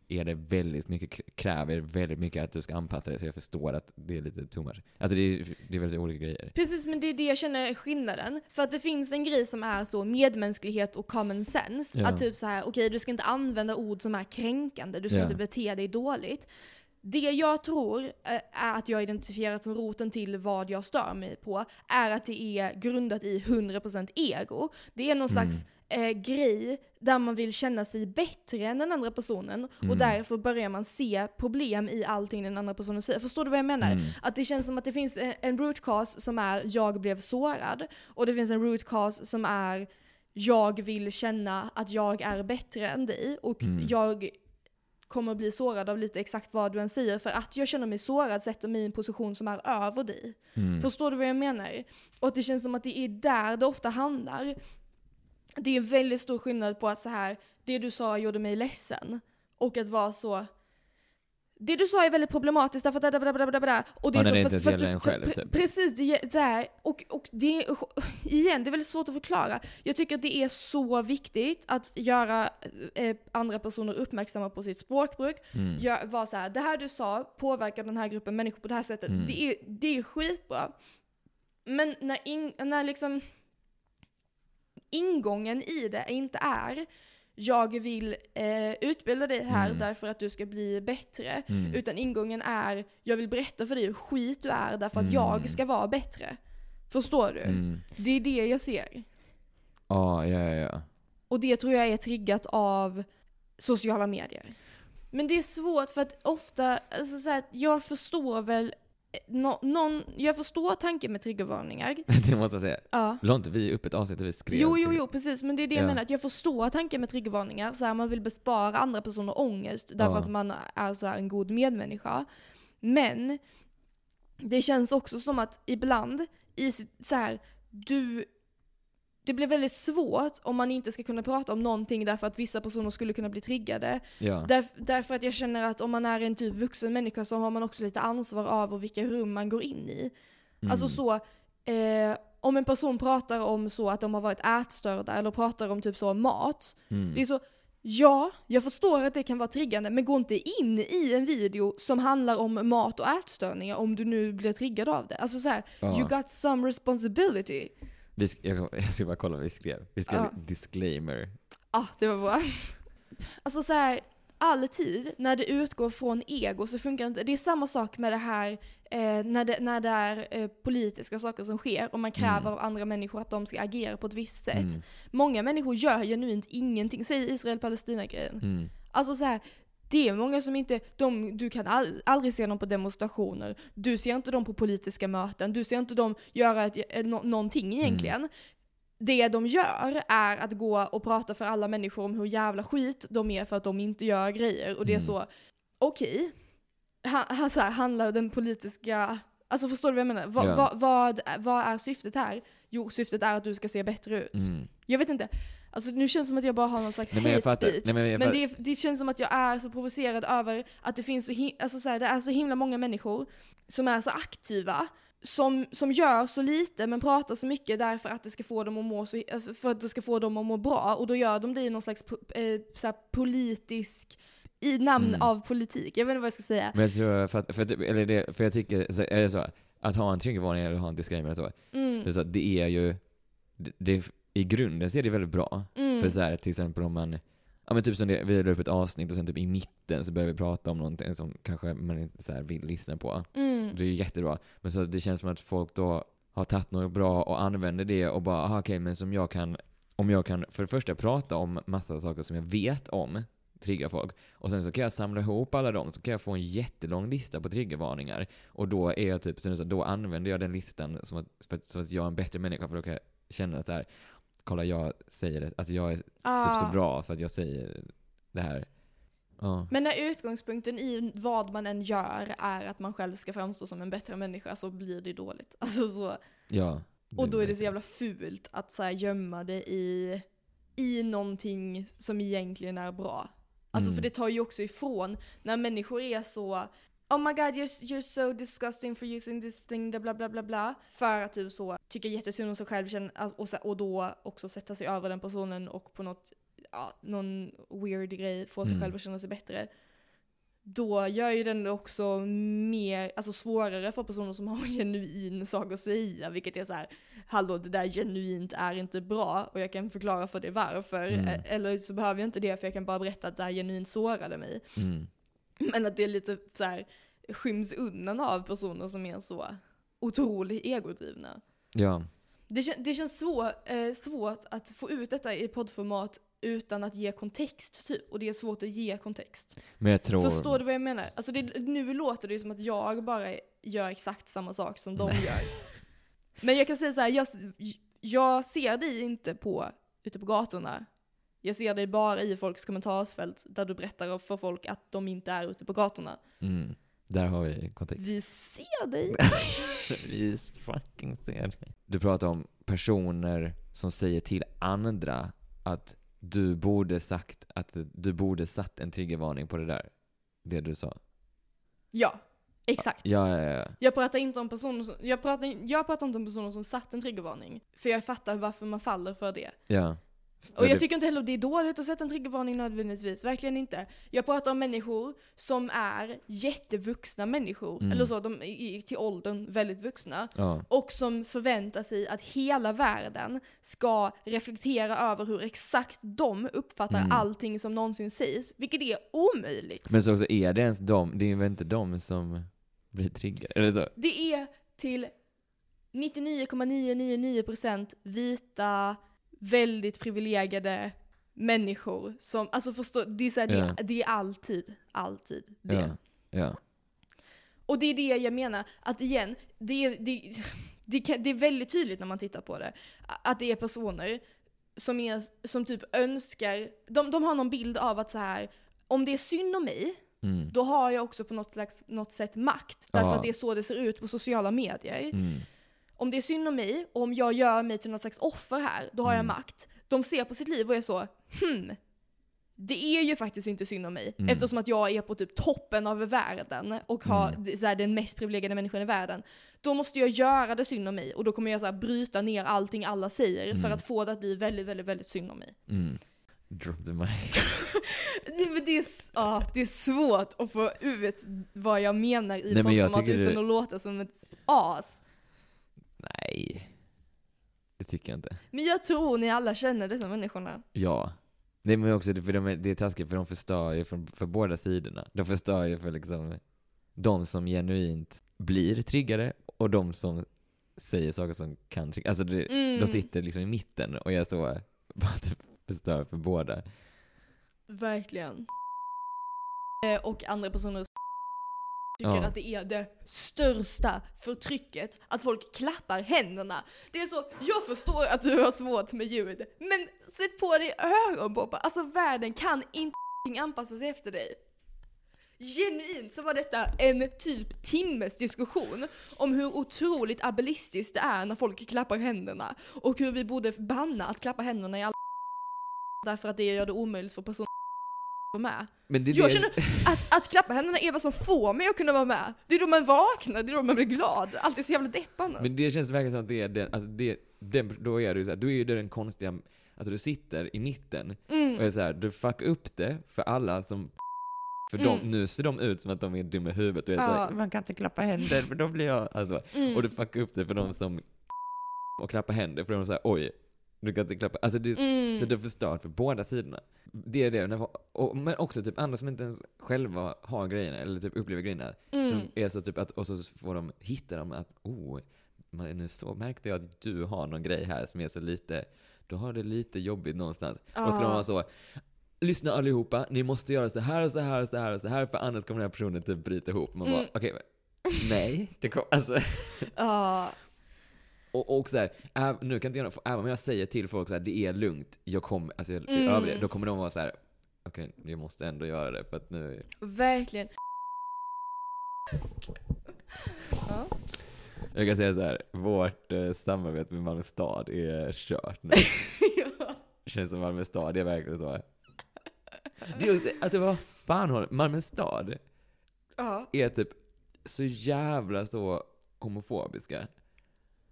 Speaker 2: är det väldigt mycket, kräver väldigt mycket att du ska anpassa dig så jag förstår att det är lite too much. Alltså det är, det är väldigt olika grejer.
Speaker 1: precis men det är det jag känner är skillnaden. För att det finns en grej som är så medmänsklighet och common sense.
Speaker 2: Ja.
Speaker 1: Att typ så här, okej du ska inte använda ord som är kränkande, du ska
Speaker 2: Ja.
Speaker 1: inte bete dig dåligt. Det jag tror eh, är att jag identifierat som roten till vad jag stör mig på är att det är grundat i 100% ego. Det
Speaker 2: Mm.
Speaker 1: är någon slags eh, grej där man vill känna sig bättre än den andra personen och
Speaker 2: Mm.
Speaker 1: därför börjar man se problem i allting den andra personen säger. Förstår du vad jag menar?
Speaker 2: Mm.
Speaker 1: Att det känns som att det finns en- en root cause som är jag blev sårad och det finns en root cause som är jag vill känna att jag är bättre än dig och
Speaker 2: Mm.
Speaker 1: jag kommer bli sårad av lite exakt vad du än säger för att jag känner mig sårad sätter mig i en position som är över dig.
Speaker 2: Mm.
Speaker 1: Förstår du vad jag menar? Och att det känns som att det är där det ofta handlar. Det är väldigt stor skillnad på att så här, det du sa gjorde mig ledsen. Och att vara så, det du sa är väldigt problematiskt därför att da, da, da, da, da, da. Och
Speaker 2: Ja, när det
Speaker 1: så-
Speaker 2: inte ens
Speaker 1: fast- fast
Speaker 2: gäller
Speaker 1: du-
Speaker 2: en själv,
Speaker 1: pre-
Speaker 2: typ.
Speaker 1: Precis, det, är- det är, och, och det är, *laughs* igen, det är väldigt svårt att förklara. Jag tycker att det är så viktigt att göra eh, andra personer uppmärksamma på sitt språkbruk
Speaker 2: Mm.
Speaker 1: jag var så här, det här du sa påverkar den här gruppen människor på det här sättet.
Speaker 2: Mm.
Speaker 1: Det, är, det är skitbra. Men när, in, när liksom ingången i det inte är jag vill eh, utbilda dig här
Speaker 2: Mm.
Speaker 1: därför att du ska bli bättre.
Speaker 2: Mm.
Speaker 1: Utan ingången är jag vill berätta för dig hur skit du är därför att
Speaker 2: Mm.
Speaker 1: jag ska vara bättre. Förstår du?
Speaker 2: Mm.
Speaker 1: Det är det jag ser.
Speaker 2: Ja, ja, ja, ja.
Speaker 1: Och det tror jag är triggat av sociala medier. Men det är svårt för att ofta, alltså så här, jag förstår väl eh, nå- någon, jag förstår tanken med triggervarningar.
Speaker 2: *laughs* Det måste jag säga.
Speaker 1: Ja.
Speaker 2: La inte vi upp ett avsnitt där vi skrev?
Speaker 1: Jo,
Speaker 2: till-
Speaker 1: jo, jo, precis. Men det är det jag
Speaker 2: Ja.
Speaker 1: menar, att jag förstår tanken med triggervarningar. Så här, man vill bespara andra personer ångest därför
Speaker 2: Ja.
Speaker 1: att man är så här, en god medmänniska. Men det känns också som att ibland, i sitt, så här, du... Det blir väldigt svårt om man inte ska kunna prata om någonting därför att vissa personer skulle kunna bli triggade.
Speaker 2: Ja.
Speaker 1: Därf, därför att jag känner att om man är en typ vuxen människa så har man också lite ansvar över vilka rum man går in i.
Speaker 2: Mm.
Speaker 1: Alltså så, eh, om en person pratar om så att de har varit ätstörda eller pratar om typ så mat.
Speaker 2: Mm.
Speaker 1: Det är så, ja, jag förstår att det kan vara triggande men gå inte in i en video som handlar om mat och ätstörningar om du nu blir triggad av det. Alltså så här,
Speaker 2: Ja.
Speaker 1: you got some responsibility.
Speaker 2: vi sk- jag, kommer- *laughs* jag ska bara kolla vad vi skrev. Vi skrev
Speaker 1: Ja.
Speaker 2: disclaimer.
Speaker 1: ah, det var bra. *laughs* Alltså så här, alltid när det utgår från ego så funkar inte, det är samma sak med det här eh, när, det, när det är eh, politiska saker som sker och man kräver
Speaker 2: Mm.
Speaker 1: av andra människor att de ska agera på ett visst sätt.
Speaker 2: Mm.
Speaker 1: Många människor gör genuint ingenting, säg Israel-Palestina-grejen.
Speaker 2: Mm.
Speaker 1: Alltså så här, det är många som inte, de, du kan all, aldrig se dem på demonstrationer, du ser inte dem på politiska möten, du ser inte dem göra ett, eh, nå-
Speaker 2: Mm.
Speaker 1: någonting egentligen. Det de gör är att gå och prata för alla människor om hur jävla skit de är för att de inte gör grejer. Och det är
Speaker 2: Mm.
Speaker 1: så, okej, han, han, så här, handlar den politiska, alltså förstår du vad jag menar? Va,
Speaker 2: Ja.
Speaker 1: va, vad, vad är syftet här? Jo, syftet är att du ska se bättre ut.
Speaker 2: Mm.
Speaker 1: Jag vet inte. Alltså nu känns det som att jag bara har någon slags
Speaker 2: Nej, men jag
Speaker 1: hate
Speaker 2: fattar.
Speaker 1: speech.
Speaker 2: Nej, men jag
Speaker 1: men
Speaker 2: fattar.
Speaker 1: det, är- det känns som att jag är så provocerad över att det finns så, hi- alltså, så, här, det är så himla många människor som är så aktiva. Som, som gör så lite men pratar så mycket därför att det ska få dem att må, så, alltså, för att det ska få dem att må bra. Och då gör de det i någon slags po- eh, så här, politisk, i namn
Speaker 2: Mm.
Speaker 1: av politik. Jag vet inte vad jag ska säga.
Speaker 2: Men jag tror, för, att, för, att, eller det, för jag tycker, så är det så, att ha en triggervarning eller ha en disclaimer och så,
Speaker 1: Mm,
Speaker 2: Det är så att det är ju, det, det, i grunden så är det väldigt bra.
Speaker 1: mm,
Speaker 2: För så här, till exempel om man, ja men typ som det, vi la upp ett avsnitt och sen typ i mitten så börjar vi prata om någonting som kanske man inte så här vill lyssna på.
Speaker 1: mm,
Speaker 2: Det är ju jättebra. Men så det känns som att folk då har tagit något bra och använder det och bara, aha, okej men som jag kan, om jag kan för det första prata om massa saker som jag vet om triggar folk. Och sen så kan jag samla ihop alla dem, så kan jag få en jättelång lista på triggervarningar. Och då är jag typ, så då använder jag den listan som att, för att, så att jag är en bättre människa, för då kan jag känna så här, kolla jag säger det, alltså jag är
Speaker 1: Ah.
Speaker 2: typ så bra för att jag säger det här. Ja.
Speaker 1: Men när utgångspunkten i vad man än gör är att man själv ska framstå som en bättre människa så blir det ju dåligt. *laughs* Alltså så.
Speaker 2: ja
Speaker 1: Och då är det så jävla fult att så här gömma det i, i någonting som egentligen är bra. Alltså
Speaker 2: Mm.
Speaker 1: för det tar ju också ifrån när människor är så Oh my god you're, you're so disgusting for using this thing bla bla bla bla bla. För att typ så tycker jättesynd om sig själv känner, alltså, och, så, och då också sätta sig över den personen och på något, ja, någon weird grej få sig
Speaker 2: Mm.
Speaker 1: själv att känna sig bättre. Då gör ju den det också mer, alltså svårare för personer som har en genuin sak att säga. Vilket är så här, hallå det där genuint är inte bra och jag kan förklara för dig varför.
Speaker 2: Mm.
Speaker 1: E- Eller så behöver jag inte det för jag kan bara berätta att det här genuint sårade mig. *clears throat*
Speaker 2: Mm.
Speaker 1: Men att det är lite så här skyms undan av personer som är så otroligt egodrivna.
Speaker 2: Ja.
Speaker 1: Det, kän- det känns så, eh, svårt att få ut detta i poddformat utan att ge kontext typ. Och det är svårt att ge kontext.
Speaker 2: Men jag tror...
Speaker 1: Förstår du vad jag menar? Alltså det, nu låter det ju som att jag bara gör exakt samma sak som de
Speaker 2: Nej.
Speaker 1: gör. Men jag kan säga så här, jag, jag ser dig inte på, ute på gatorna. Jag ser dig bara i folks kommentarsfält där du berättar för folk att de inte är ute på gatorna.
Speaker 2: Mm. Där har vi kontext.
Speaker 1: Vi ser dig!
Speaker 2: Vi fucking ser Du pratar om personer som säger till andra att du borde sagt att du borde satt en triggervarning på det där. Det du sa.
Speaker 1: Ja, exakt.
Speaker 2: Ja, ja, ja.
Speaker 1: Jag pratar, inte om personer som, jag, pratar, jag pratar inte om personer som satt en triggervarning. För jag fattar varför man faller för det.
Speaker 2: ja.
Speaker 1: Och
Speaker 2: För
Speaker 1: jag
Speaker 2: det-
Speaker 1: tycker inte heller att det är dåligt att sätta en triggervarning nödvändigtvis, verkligen inte. Jag pratar om människor som är jättevuxna människor,
Speaker 2: Mm.
Speaker 1: eller så, de är i- till åldern väldigt vuxna.
Speaker 2: Ja.
Speaker 1: Och som förväntar sig att hela världen ska reflektera över hur exakt de uppfattar
Speaker 2: Mm.
Speaker 1: allting som någonsin sägs, vilket är omöjligt.
Speaker 2: Men så, så är det ens de, det är väl inte de som blir triggade? Eller så?
Speaker 1: Det är till 99,999% vita, väldigt privilegierade människor som, alltså förstå, det är, så här, det,
Speaker 2: Ja.
Speaker 1: det är alltid, alltid det.
Speaker 2: Ja. ja.
Speaker 1: Och det är det jag menar, att igen, det är, det, det, kan, det är väldigt tydligt när man tittar på det, att det är personer som, är, som typ önskar, de, de har någon bild av att så här om det är synd om mig,
Speaker 2: Mm.
Speaker 1: då har jag också på något, slags, något sätt makt. Därför
Speaker 2: Ja.
Speaker 1: att det är så det ser ut på sociala medier
Speaker 2: Mm.
Speaker 1: om det är synd om mig och om jag gör mig till någon slags offer här, då har
Speaker 2: Mm.
Speaker 1: jag makt. De ser på sitt liv och är så, hmm. Det är ju faktiskt inte synd om mig.
Speaker 2: Mm.
Speaker 1: Eftersom att jag är på typ toppen av världen och har
Speaker 2: Mm.
Speaker 1: d- så här, den mest privilegierade människan i världen. Då måste jag göra det synd om mig och då kommer jag så här, bryta ner allting alla säger för
Speaker 2: Mm.
Speaker 1: att få det att bli väldigt, väldigt, väldigt synd om mig.
Speaker 2: Mm. Drop the mic.
Speaker 1: Det, men det, är, s- ja, det är svårt att få ut vad jag menar i
Speaker 2: Nej, men jag
Speaker 1: poddformat
Speaker 2: tycker
Speaker 1: utan
Speaker 2: det-
Speaker 1: att låta som ett as.
Speaker 2: Nej. Det tycker jag inte.
Speaker 1: Men jag tror ni alla känner dessa människorna.
Speaker 2: Ja. Nej men också, det- för de är, det är taskigt för de förstör ju för, för båda sidorna. De förstör ju för liksom de som genuint blir triggade och de som säger saker som kan trigga. Alltså det, de
Speaker 1: Mm.
Speaker 2: sitter liksom i mitten och jag så bara typ förstör för båda.
Speaker 1: Verkligen. Eh, Och andra personer tycker
Speaker 2: Ja.
Speaker 1: att det är det största förtrycket att folk klappar händerna. Det är så, jag förstår att du har svårt med ljud, men sätt på dig öronproppar. Alltså världen kan inte anpassa sig efter dig. Genuint så var detta en typ timmes diskussion om hur otroligt ableistiskt det är när folk klappar händerna och hur vi borde banna att klappa händerna i alla därför att det gör det omöjligt för personer att vara med.
Speaker 2: Men det är
Speaker 1: Jag
Speaker 2: det,
Speaker 1: känner- Att, att klappa händerna är vad som får mig att kunna vara med. Det är då man vaknar, det är då man blir glad. Allt är så jävla deppande.
Speaker 2: *laughs* men det känns verkligen som att det är den, alltså det, den då är du så här, då är ju det den konstiga, alltså du sitter i mitten och
Speaker 1: mm.
Speaker 2: är så här, du fuckar upp det för alla som *laughs* för de,
Speaker 1: Mm.
Speaker 2: nu ser de ut som att de är dumma i huvudet och är så
Speaker 1: Ja.
Speaker 2: här, man kan inte klappa händer för då blir jag... *laughs* Alltså,
Speaker 1: Mm.
Speaker 2: Och du fuckar upp det för de som *laughs* och klappar händer för de säger oj, du kan inte klappa. Alltså det,
Speaker 1: mm.
Speaker 2: så det är förstört för båda sidorna. Det är det. när- Och, men också typ andra som inte ens själva har grejerna eller typ upplever grejerna.
Speaker 1: Mm.
Speaker 2: Som är så typ att, och så får de, hittar de att oh, man, nu så märkte jag att du har någon grej här som är så lite, du har det lite jobbigt någonstans. Och så ska de
Speaker 1: Ah.
Speaker 2: vara så, lyssna allihopa, ni måste göra så här och så här och så här och så här för annars kommer den här personen typ bryta ihop. Man bara,
Speaker 1: Mm.
Speaker 2: okej,
Speaker 1: *laughs*
Speaker 2: men- nej. Det kom, alltså,
Speaker 1: Ja.
Speaker 2: och, och så här, ä- nu kan inte jag, även om jag säger till folk så här, det är lugnt, jag kommer, alltså jag
Speaker 1: Mm.
Speaker 2: överlever, då kommer de vara så här. okej okej, jag måste ändå göra det för att nu...
Speaker 1: Verkligen. *laughs* Ja.
Speaker 2: Jag kan säga så här, vårt eh, samarbete med Malmö stad är kört nu.
Speaker 1: ja.
Speaker 2: känns som Malmö stad, det är verkligen så. Det är, också- alltså vad fan håller... Malmö stad
Speaker 1: ja.
Speaker 2: är typ så jävla så homofobiska.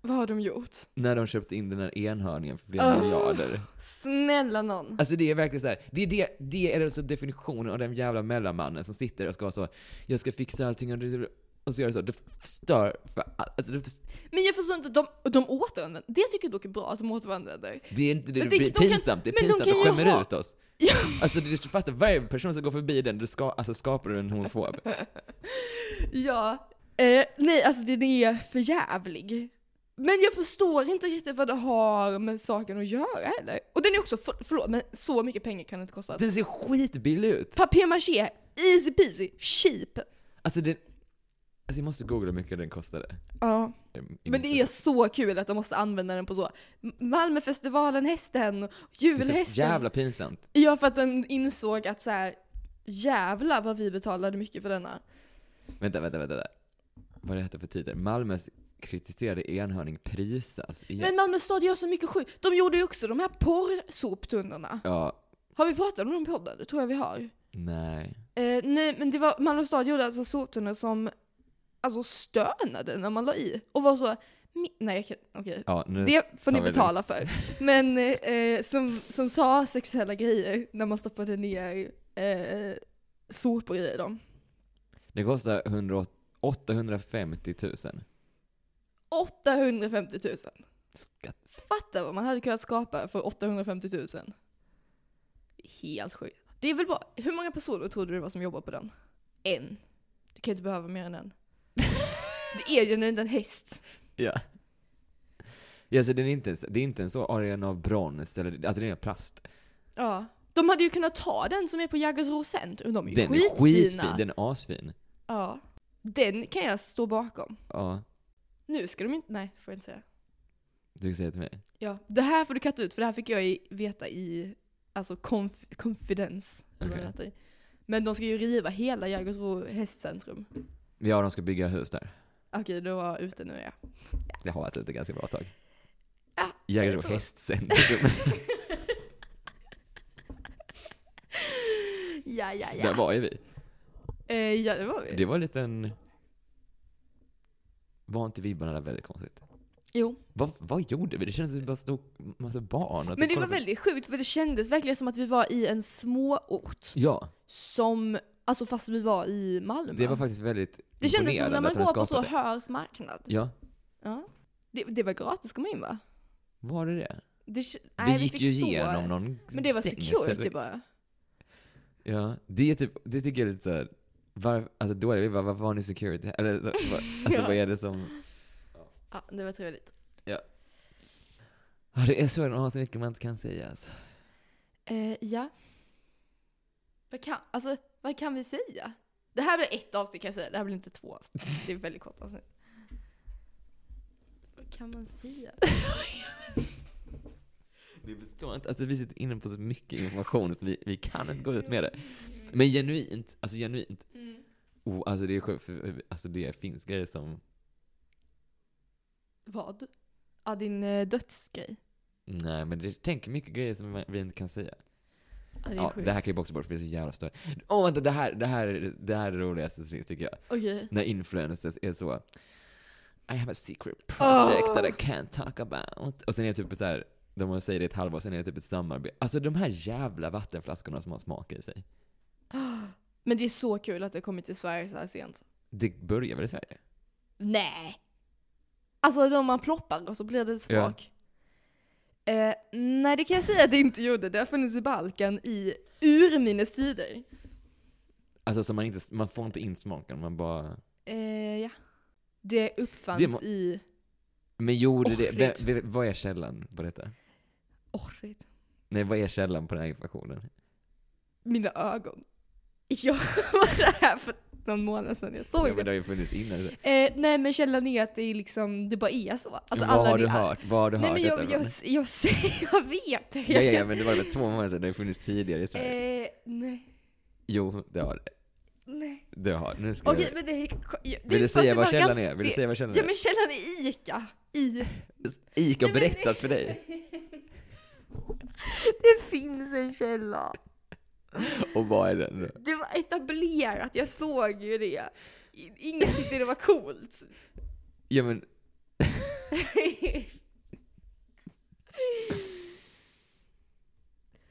Speaker 1: Vad har de gjort?
Speaker 2: När de köpte in den här enhörningen för flera
Speaker 1: Åh.
Speaker 2: miljarder.
Speaker 1: Snälla någon.
Speaker 2: Alltså det är verkligen så här. Det, är det, det är alltså definitionen av den jävla mellanmannen som sitter och ska vara så Jag ska fixa allting och, det, och så gör det så. Det förstör för all, alltså det, förstör,
Speaker 1: Men jag förstår inte, de, de återanvänder. Det tycker jag dock är bra att de återanvänder.
Speaker 2: det är inte det,
Speaker 1: Men
Speaker 2: det
Speaker 1: det-
Speaker 2: blir
Speaker 1: de kan-
Speaker 2: pinsamt. det är
Speaker 1: men de
Speaker 2: pinsamt
Speaker 1: kan
Speaker 2: och
Speaker 1: ju
Speaker 2: skämmer
Speaker 1: ha-
Speaker 2: ut oss.
Speaker 1: Ja.
Speaker 2: Alltså det är så fattar varje person som går förbi den, du ska, alltså skapar du en homofob.
Speaker 1: *laughs* Ja. Eh, nej, alltså den är förjävlig. Men jag förstår inte riktigt vad det har med saken att göra eller? Och den är också, för, förlåt, men så mycket pengar kan det inte kosta.
Speaker 2: Den ser skitbillig ut.
Speaker 1: Papier-maché, easy peasy, cheap.
Speaker 2: Alltså den... Alltså jag måste googla hur mycket den kostade.
Speaker 1: Ja. Men det är så kul att de måste använda den på så. M- Malmöfestivalen, hästen,
Speaker 2: Det
Speaker 1: julhästen.
Speaker 2: är så jävla pinsamt.
Speaker 1: Ja, för att de insåg att så här, jävlar vad vi betalade mycket för denna.
Speaker 2: Vänta, vänta, vänta. vänta. Vad är detta för titel? Malmös kritiserade enhörning prisas igen.
Speaker 1: Men Malmö stad gör så mycket sjukt. De gjorde ju också de här porrsoptunnorna.
Speaker 2: Ja,
Speaker 1: Har vi pratat om dem i podden? Det tror jag vi har.
Speaker 2: nej.
Speaker 1: Eh, nej, men det var, Malmö stad gjorde alltså soptunnor som alltså stönade när man la i. Och var så, "Mi- nej jag kan, okej.
Speaker 2: Ja, nu,
Speaker 1: Det får ni
Speaker 2: tar vi det.
Speaker 1: betala för. Men eh, som, som sa sexuella grejer när man stoppade ner eh, sopor i dem.
Speaker 2: det kostar 100, 850 000.
Speaker 1: 850 000.
Speaker 2: Skatt.
Speaker 1: Fatta vad man hade kunnat skapa för 850 000. Helt sjukt. Det är väl bara, hur många personer tror du det var som jobbar på den? En. Du kan inte behöva mer än en. Det är ju inte en häst.
Speaker 2: Ja. Ja, så den är inte, ens- det är inte en så arena av brons, eller, alltså den är plast.
Speaker 1: Ja. De hade ju kunnat ta den som är på Jaggers Rosent. De är ju
Speaker 2: Den är
Speaker 1: skitfina.
Speaker 2: skitfin, den är asfin.
Speaker 1: Ja. Den kan jag stå bakom.
Speaker 2: Ja,
Speaker 1: Nu ska de inte, nej får jag inte säga.
Speaker 2: du ska säga till mig.
Speaker 1: Ja. Det här får du katta ut för det här fick jag i, veta i, alltså conf, confidence. eller vad
Speaker 2: Okej.
Speaker 1: det heter. Men de ska ju riva hela Jägersro hästcentrum.
Speaker 2: Ja, de ska bygga hus där.
Speaker 1: Okej, du var ute nu ja.
Speaker 2: Det har varit ute ganska bra tag.
Speaker 1: Ja,
Speaker 2: Jägersro
Speaker 1: tror- *laughs*
Speaker 2: hästcentrum.
Speaker 1: Ja, ja,
Speaker 2: Där
Speaker 1: ja.
Speaker 2: var ju vi.
Speaker 1: Eh, ja, det var vi.
Speaker 2: Det var en liten... Var inte vibbarna där väldigt konstigt?
Speaker 1: Jo.
Speaker 2: Vad, vad gjorde vi? Det kändes som att det bara stod massa barn och
Speaker 1: Men det var
Speaker 2: kollade på-
Speaker 1: väldigt sjukt för det kändes verkligen som att vi var i en småort.
Speaker 2: Ja,
Speaker 1: Som, alltså fast vi var i Malmö.
Speaker 2: det var faktiskt väldigt
Speaker 1: Det kändes som när
Speaker 2: imponerande
Speaker 1: man går
Speaker 2: att de
Speaker 1: på
Speaker 2: hade
Speaker 1: så
Speaker 2: skapat det.
Speaker 1: hörs marknad.
Speaker 2: Ja,
Speaker 1: Ja. Det, det var gratis att komma in va?
Speaker 2: var det det?
Speaker 1: Det, k-
Speaker 2: vi
Speaker 1: nej,
Speaker 2: gick
Speaker 1: fick
Speaker 2: ju
Speaker 1: stå.
Speaker 2: igenom någon
Speaker 1: Men det var
Speaker 2: stängsel.
Speaker 1: security bara.
Speaker 2: Ja, det är typ, det tycker jag är lite såhär, var, alltså då är det ju bara, varför har ni security? Eller så, vad-
Speaker 1: *laughs*
Speaker 2: alltså
Speaker 1: Ja.
Speaker 2: vad är det som...
Speaker 1: Ja, det var trevligt.
Speaker 2: Ja, det är så, de har så mycket man inte kan säga alltså.
Speaker 1: Eh, ja. Vad kan, alltså, vad kan vi säga? Det här blir ett avsnitt kan jag säga, det här blir inte två avsnitt. Det är väldigt kort avsnitt. Vad kan man säga?
Speaker 2: *laughs* Det består inte, alltså vi sitter inne på så mycket information så vi, vi kan inte gå ut med det. Men genuint, alltså genuint,
Speaker 1: Mm.
Speaker 2: oh, alltså det är sjukt, för, alltså det finns grejer som,
Speaker 1: Vad? Ja, din eh, dödsgrej.
Speaker 2: nej men det tänker mycket grejer som man- vi inte kan säga.
Speaker 1: Ja, det är
Speaker 2: Ja,
Speaker 1: sjukt.
Speaker 2: det här kan ju också bort för det är så jävla störigt. Åh vänta, det här, det här, det här är det roligaste som finns, tycker jag.
Speaker 1: Okej.
Speaker 2: när influencers är så I have a secret project that I
Speaker 1: Åh.
Speaker 2: can't talk about. Och sen är det typ så här, de säger det i ett halvår, sen är det typ ett samarbete. Alltså de här jävla vattenflaskorna som har smak i sig.
Speaker 1: Ah, Men det är så kul att det har kommit till Sverige så här sent.
Speaker 2: Det börjar väl i Sverige?
Speaker 1: Nej! Alltså de man ploppar och så blir det smak. Eh, nej, det kan jag säga att det inte gjorde. Det har funnits i Balkan i urminnes tider.
Speaker 2: Alltså så man, inte, man får inte in smaken, man bara...
Speaker 1: Eh, ja. Det uppfanns
Speaker 2: Det må-
Speaker 1: i
Speaker 2: Men gjorde det...
Speaker 1: Orrigt.
Speaker 2: Vem, vem, vad är källan på detta?
Speaker 1: Orrid.
Speaker 2: Nej, vad är källan på den här informationen?
Speaker 1: *laughs* Mina ögon. Ja, vad är det här för någon månad sedan jag
Speaker 2: Ja,
Speaker 1: såg
Speaker 2: men det
Speaker 1: det.
Speaker 2: har ju funnits innan. Men
Speaker 1: Eh, nej men källan är att det är liksom, det bara är så. Alltså,
Speaker 2: vad, har
Speaker 1: det
Speaker 2: du
Speaker 1: är-
Speaker 2: hört? vad har du
Speaker 1: Nej
Speaker 2: hört?
Speaker 1: men jag,
Speaker 2: detta
Speaker 1: jag, jag,
Speaker 2: från?
Speaker 1: jag, *laughs* jag vet det.
Speaker 2: ja, ja, ja, men det var väl två månader sedan. Det har ju funnits tidigare i Sverige.
Speaker 1: eh, nej,
Speaker 2: Jo, det har det.
Speaker 1: nej.
Speaker 2: Det har det. Nu ska
Speaker 1: Okej
Speaker 2: jag...
Speaker 1: men det är... det
Speaker 2: Vill du
Speaker 1: fast
Speaker 2: säga
Speaker 1: det
Speaker 2: vad
Speaker 1: var gan-
Speaker 2: källan är? Vill du
Speaker 1: det-
Speaker 2: säga vad källan
Speaker 1: Ja
Speaker 2: är?
Speaker 1: men källan är Ica. I.
Speaker 2: Ica
Speaker 1: Nej, men-
Speaker 2: har berättat
Speaker 1: *laughs*
Speaker 2: för dig.
Speaker 1: Det finns en källa.
Speaker 2: Och vad är den då?
Speaker 1: Det var etablerat, jag såg ju det. I- Ingen tyckte det var coolt. *laughs*
Speaker 2: Ja, men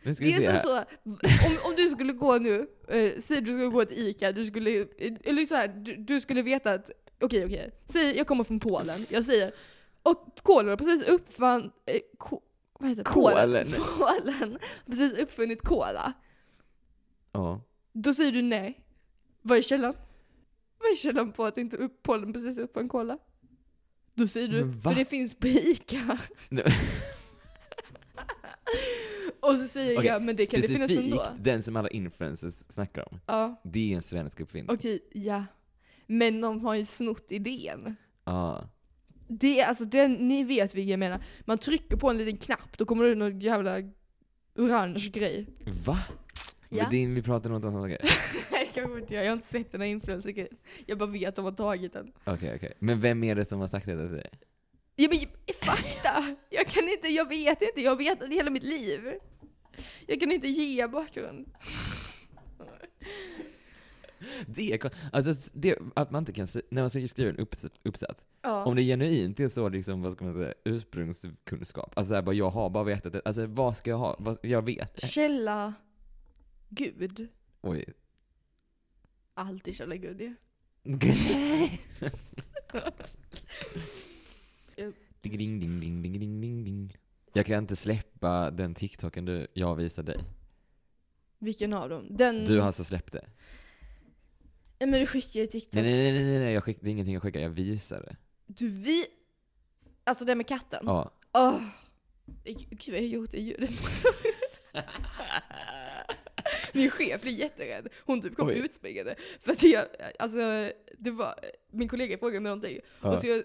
Speaker 2: nu ska vi
Speaker 1: Det
Speaker 2: se
Speaker 1: är
Speaker 2: här.
Speaker 1: som så, om, om du skulle gå nu, eh, säg du skulle gå till ICA, du skulle, eh, eller så här, du, du skulle veta att, okej okej, säg jag kommer från Polen, jag säger, och Polen har precis uppfann, eh, ko, vad heter det?
Speaker 2: Kolen.
Speaker 1: Polen har precis uppfunnit kola.
Speaker 2: Ja.
Speaker 1: Då säger du nej. Vad är källan? Vad är källan på att inte upp, Polen precis uppfann kola? Då säger du,
Speaker 2: Men va?
Speaker 1: för det finns på ICA.
Speaker 2: Nej.
Speaker 1: *laughs* och så säger
Speaker 2: Okej,
Speaker 1: jag, men det kan det finnas ändå.
Speaker 2: Specifikt den som alla influencers snackar om.
Speaker 1: Ja.
Speaker 2: Det är en svensk uppfinning.
Speaker 1: Okej, ja. Men de har ju snott idén.
Speaker 2: Ja.
Speaker 1: Det är alltså den, ni vet vilken jag menar. Man trycker på en liten knapp, då kommer det ut någon jävla orange grej.
Speaker 2: Va?
Speaker 1: Ja.
Speaker 2: Men det är, vi pratar om något annat. Okej,
Speaker 1: *laughs* Nej, kanske inte jag. Jag har inte sett den här influencer Jag bara vet att de har tagit den.
Speaker 2: okej. okej. Men vem är det som har sagt detta till dig?
Speaker 1: Ja men eh, fakta! Jag kan inte, jag vet inte, jag vet det hela mitt liv. Jag kan inte ge bakgrund.
Speaker 2: Det är kon- Alltså, s- det, att man inte kan se, när man ska skriva en upps- uppsats,
Speaker 1: Ja.
Speaker 2: om det genuint är så liksom, vad ska man säga, ursprungskunskap. Alltså såhär bara, jag har bara vetat det. Alltså vad ska jag ha? Vad, jag vet.
Speaker 1: Källa Gud.
Speaker 2: Oj.
Speaker 1: Alltid källa Gud
Speaker 2: *laughs*
Speaker 1: ju.
Speaker 2: ding, ding, ding, ding, ding, ding, ding, ding. Jag kan inte släppa den TikToken du, jag visade dig.
Speaker 1: Vilken av dem? Den...
Speaker 2: Du har alltså släppt det?
Speaker 1: Ja, men du skickar ju TikToks.
Speaker 2: Nej, nej, nej, nej, nej, nej jag skick, det är ingenting jag skickar, jag visar det.
Speaker 1: Du vi... Alltså det med katten?
Speaker 2: Ja.
Speaker 1: Åh! Gud jag har gjort det
Speaker 2: *laughs*
Speaker 1: ljudet. Min chef blev jätterädd. Hon typ kom
Speaker 2: Oj.
Speaker 1: utspringande. För att jag, alltså, det var, min kollega frågade mig någonting.
Speaker 2: ja.
Speaker 1: Och så jag,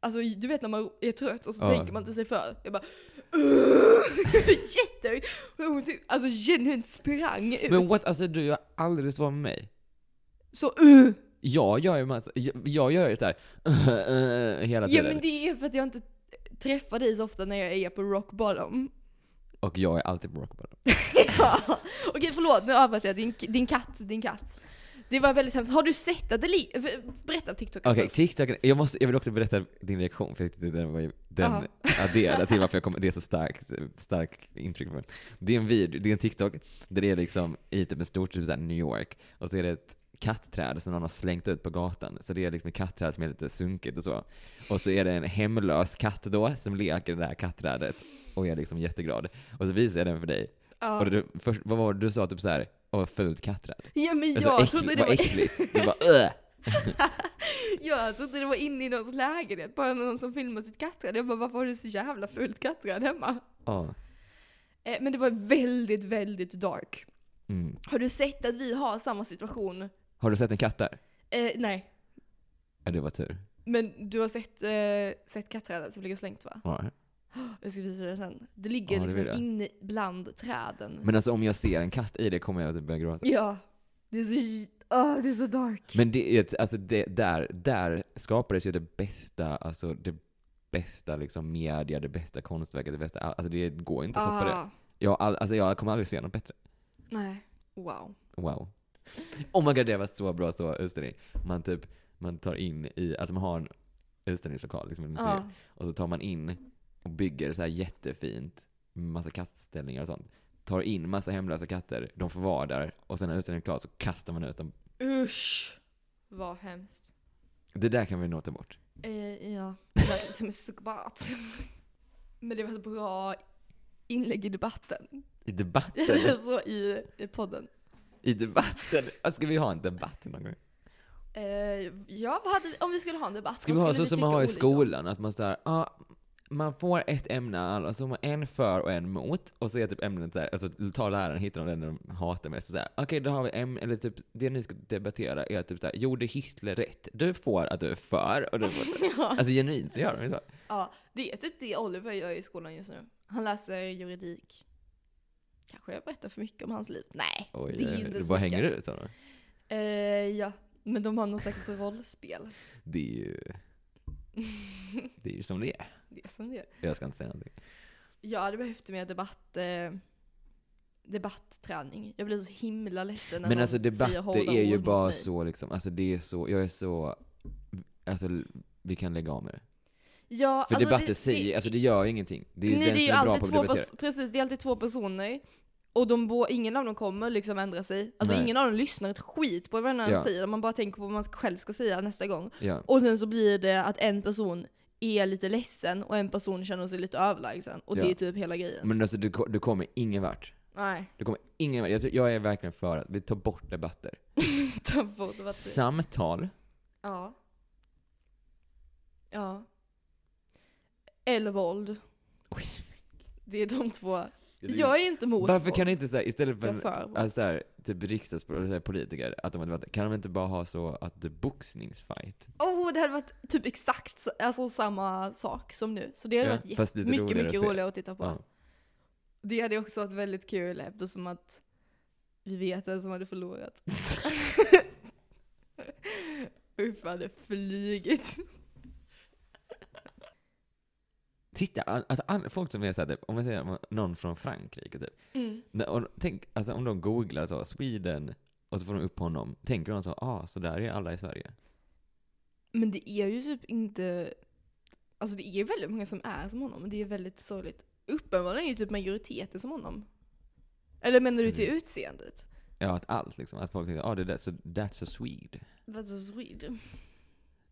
Speaker 1: alltså du vet när man är trött och så
Speaker 2: Ja.
Speaker 1: tänker man inte sig för. Jag bara *laughs* Jätte... Hon typ, alltså genuint sprang ut.
Speaker 2: Men what, alltså du, jag har aldrig svarat med mig.
Speaker 1: Så uh.
Speaker 2: Jag gör ju massa, jag, jag gör ju såhär *laughs*
Speaker 1: Ja
Speaker 2: hela tiden.
Speaker 1: men det är för att jag inte träffar dig så ofta när jag är på rock bottom.
Speaker 2: *laughs* Och jag är alltid på rock bottom.
Speaker 1: Ja. Okej förlåt, nu avbröt jag. Din, din katt, din katt. Det var väldigt hemskt. Har du sett att det ligger... Berätta om TikTok.
Speaker 2: Okej, TikTok, jag, måste, jag vill också berätta din reaktion, för jag tyckte den var ju, den
Speaker 1: Aha.
Speaker 2: adderade till varför jag kom, det är så starkt, starkt intryck för mig. Det är en video, det är en TikTok, där det är liksom i typ en stor, typ såhär New York, och så är det ett kattträd som någon har slängt ut på gatan. Så det är liksom ett kattträd som är lite sunkigt och så. Och så är det en hemlös katt då, som leker i det här kattträdet och är liksom jätteglad. Och så visar jag den för dig.
Speaker 1: Ja.
Speaker 2: Och du, först, vad var det du sa? Typ såhär, åh fult kattträd.
Speaker 1: ja men
Speaker 2: Alltså,
Speaker 1: jag
Speaker 2: äckligt,
Speaker 1: trodde det
Speaker 2: vad
Speaker 1: var...
Speaker 2: äckligt. Du bara Åh!
Speaker 1: *laughs* Jag trodde det var inne i någons lägenhet. Bara någon som filmar sitt katträd. Jag bara varför har du så jävla fult katträd hemma?
Speaker 2: Ja.
Speaker 1: Eh, men det var väldigt, väldigt dark.
Speaker 2: Mm.
Speaker 1: Har du sett att vi har samma situation?
Speaker 2: Har du sett en katt där?
Speaker 1: Eh, nej.
Speaker 2: Ja, det var tur.
Speaker 1: Men du har sett, eh, sett katträdet som ligger slängt va?
Speaker 2: Ja.
Speaker 1: Jag ska visa dig sen. Det ligger
Speaker 2: Ja, det
Speaker 1: liksom
Speaker 2: vill jag.
Speaker 1: inne bland träden.
Speaker 2: Men alltså om jag ser en katt i det kommer jag att börja gråta.
Speaker 1: Ja. Det är så, j- ah, det är så dark.
Speaker 2: Men det är, ett- alltså det, där, där skapades ju det bästa, alltså det bästa liksom media, det bästa konstverket, det bästa, alltså det går inte att toppa det.
Speaker 1: Ah,
Speaker 2: Jag, har all, alltså jag kommer aldrig se något bättre.
Speaker 1: Nej. Wow.
Speaker 2: Wow. Oh my god, det var så bra så utställning. Man typ, man tar in i, alltså man har en utställningslokal, liksom ett museum.
Speaker 1: Ja.
Speaker 2: Och så tar man in och bygger så här jättefint, massa kattställningar och sånt. Tar in massa hemlösa katter, de får vara där och sen när utställningen är klar så kastar man ut dem.
Speaker 1: Usch. Vad hemskt.
Speaker 2: Det där kan vi nog ta bort.
Speaker 1: Eh, ja. Det lät *laughs* som en psykopat. Men det var ett bra inlägg i debatten.
Speaker 2: I debatten.
Speaker 1: Eller *laughs* så i, i podden.
Speaker 2: I debatten. Ja, Ska vi ha en debatt någon gång?
Speaker 1: Eh, ja, vad hade vi, om vi skulle ha en debatt.
Speaker 2: Ska vi
Speaker 1: vad
Speaker 2: ha
Speaker 1: skulle
Speaker 2: så som
Speaker 1: tycka
Speaker 2: man har i
Speaker 1: olika om?
Speaker 2: skolan? Att man såhär, ja, man får ett ämne, alltså en för och en mot, och så är typ ämnet såhär, alltså tar läraren, hittar de den de hatar mest, såhär, okej då har vi ämne, eller typ det ni ska debattera är typ såhär, gjorde Hitler rätt? Du får att du är för, och du får,
Speaker 1: *laughs* ja.
Speaker 2: alltså genuint så gör de ju så.
Speaker 1: ja, det är typ det Oliver gör i skolan just nu. Han läser juridik. Kanske jag berättar för mycket om hans liv. Nej,
Speaker 2: Oj,
Speaker 1: det är ju
Speaker 2: oj,
Speaker 1: inte
Speaker 2: oj,
Speaker 1: ens
Speaker 2: bara
Speaker 1: mycket.
Speaker 2: hänger ut honom.
Speaker 1: Eh, ja, men de har någon slags rollspel. *laughs*
Speaker 2: Det är ju, det är ju som det är.
Speaker 1: det är som det är.
Speaker 2: Jag ska inte säga någonting.
Speaker 1: Jag hade behövt mer debatt, eh, debattträning. Jag blir så himla ledsen när
Speaker 2: Men
Speaker 1: någon
Speaker 2: alltså
Speaker 1: säger hårda
Speaker 2: debatter är ju
Speaker 1: ord mot
Speaker 2: bara
Speaker 1: mig.
Speaker 2: så liksom, alltså det är så, jag är så, alltså vi kan lägga av med det.
Speaker 1: Ja,
Speaker 2: För
Speaker 1: alltså
Speaker 2: debatter säger, alltså det gör ju ingenting. Det är ju
Speaker 1: nej,
Speaker 2: den
Speaker 1: det är ju
Speaker 2: som är bra på
Speaker 1: alltid
Speaker 2: att
Speaker 1: två
Speaker 2: debattera.
Speaker 1: pers- precis, det är alltid två personer. Och de bo- ingen av dem kommer liksom ändra sig. Alltså
Speaker 2: Nej.
Speaker 1: ingen av dem lyssnar ett skit på vad den andra
Speaker 2: Ja.
Speaker 1: säger. Man bara tänker på vad man själv ska säga nästa gång.
Speaker 2: Ja.
Speaker 1: Och sen så blir det att en person är lite ledsen och en person känner sig lite överlägsen. Och det
Speaker 2: Ja.
Speaker 1: är typ hela grejen.
Speaker 2: Men alltså du, ko- du kommer ingen vart.
Speaker 1: Nej, *laughs*
Speaker 2: Du kommer ingen vart. Jag, tror- jag är verkligen för att vi tar bort debatter.
Speaker 1: ta bort debatter.
Speaker 2: Samtal.
Speaker 1: Ja. Ja. Eller våld.
Speaker 2: Oj.
Speaker 1: Det är de två. Jag är inte emot
Speaker 2: Varför
Speaker 1: våld.
Speaker 2: kan inte såhär, istället för,
Speaker 1: Jag är
Speaker 2: en,
Speaker 1: för våld.
Speaker 2: alltså, så här, typ riksdagspolitiker, att de har debatter, kan de inte bara ha så att det är boxningsfight?
Speaker 1: Oh, det hade varit typ exakt s- alltså, samma sak som nu. Så det hade
Speaker 2: Ja,
Speaker 1: varit
Speaker 2: fast
Speaker 1: jätte-
Speaker 2: lite
Speaker 1: mycket,
Speaker 2: roligare
Speaker 1: mycket
Speaker 2: att se.
Speaker 1: roligare att titta på.
Speaker 2: Ja.
Speaker 1: Det hade också varit väldigt kul eftersom att vi vet vem som hade förlorat. *laughs* Uffe hade flugit.
Speaker 2: *laughs* Titta, all- alltså, all, folk som är såhär, typ, om man säger någon från Frankrike typ.
Speaker 1: Mm.
Speaker 2: När- Och, tänk, alltså om de googlar så, Sweden, och så får de upp honom. Tänker de så, ah, så där är alla i Sverige.
Speaker 1: Men det är ju typ inte... Alltså det är ju väldigt många som är som honom. och Det är väldigt sorgligt. Uppenbarligen är ju typ majoriteten som honom. Eller menar du till
Speaker 2: Mm.
Speaker 1: utseendet?
Speaker 2: Ja, att allt liksom. Att folk tänker, ah, det där, så that's a Swede.
Speaker 1: That's weird.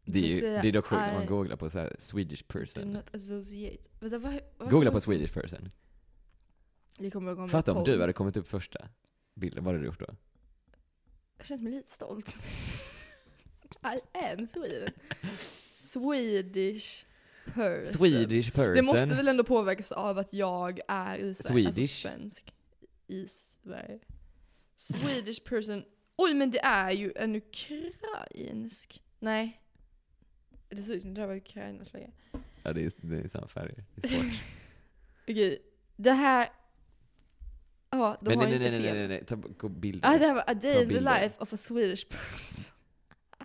Speaker 2: Det är,
Speaker 1: Du
Speaker 2: ju,
Speaker 1: säger,
Speaker 2: det är dock sjukt om
Speaker 1: "I
Speaker 2: man googlar på så här Swedish
Speaker 1: Do
Speaker 2: person.
Speaker 1: not associate. Vänta, vad, vad
Speaker 2: Googla på Swedish person.
Speaker 1: Det kommer jag komma
Speaker 2: Fatta om
Speaker 1: ihåg.
Speaker 2: du hade kommit upp första bilden, vad hade du gjort då?
Speaker 1: Jag känner mig lite stolt. *laughs* I am Sweden. Swedish person.
Speaker 2: Swedish person.
Speaker 1: Alltså, Det måste väl ändå påverkas av att jag är i Sverige. Alltså
Speaker 2: Swedish.
Speaker 1: svensk. I Sverige. Swedish person. Oj men det är ju en ukrainsk. Nej. Det ser ut som det där var Ukrainas flagga.
Speaker 2: Ja, det är, det är samma färg. Det är svårt.
Speaker 1: Okej. Det här. Ja, *laughs* de
Speaker 2: Men
Speaker 1: har
Speaker 2: nej, nej,
Speaker 1: inte
Speaker 2: nej, nej,
Speaker 1: fel.
Speaker 2: nej, nej, ta gå bilder.
Speaker 1: Ah, det här var A Day in the
Speaker 2: bilder.
Speaker 1: Life of a Swedish person.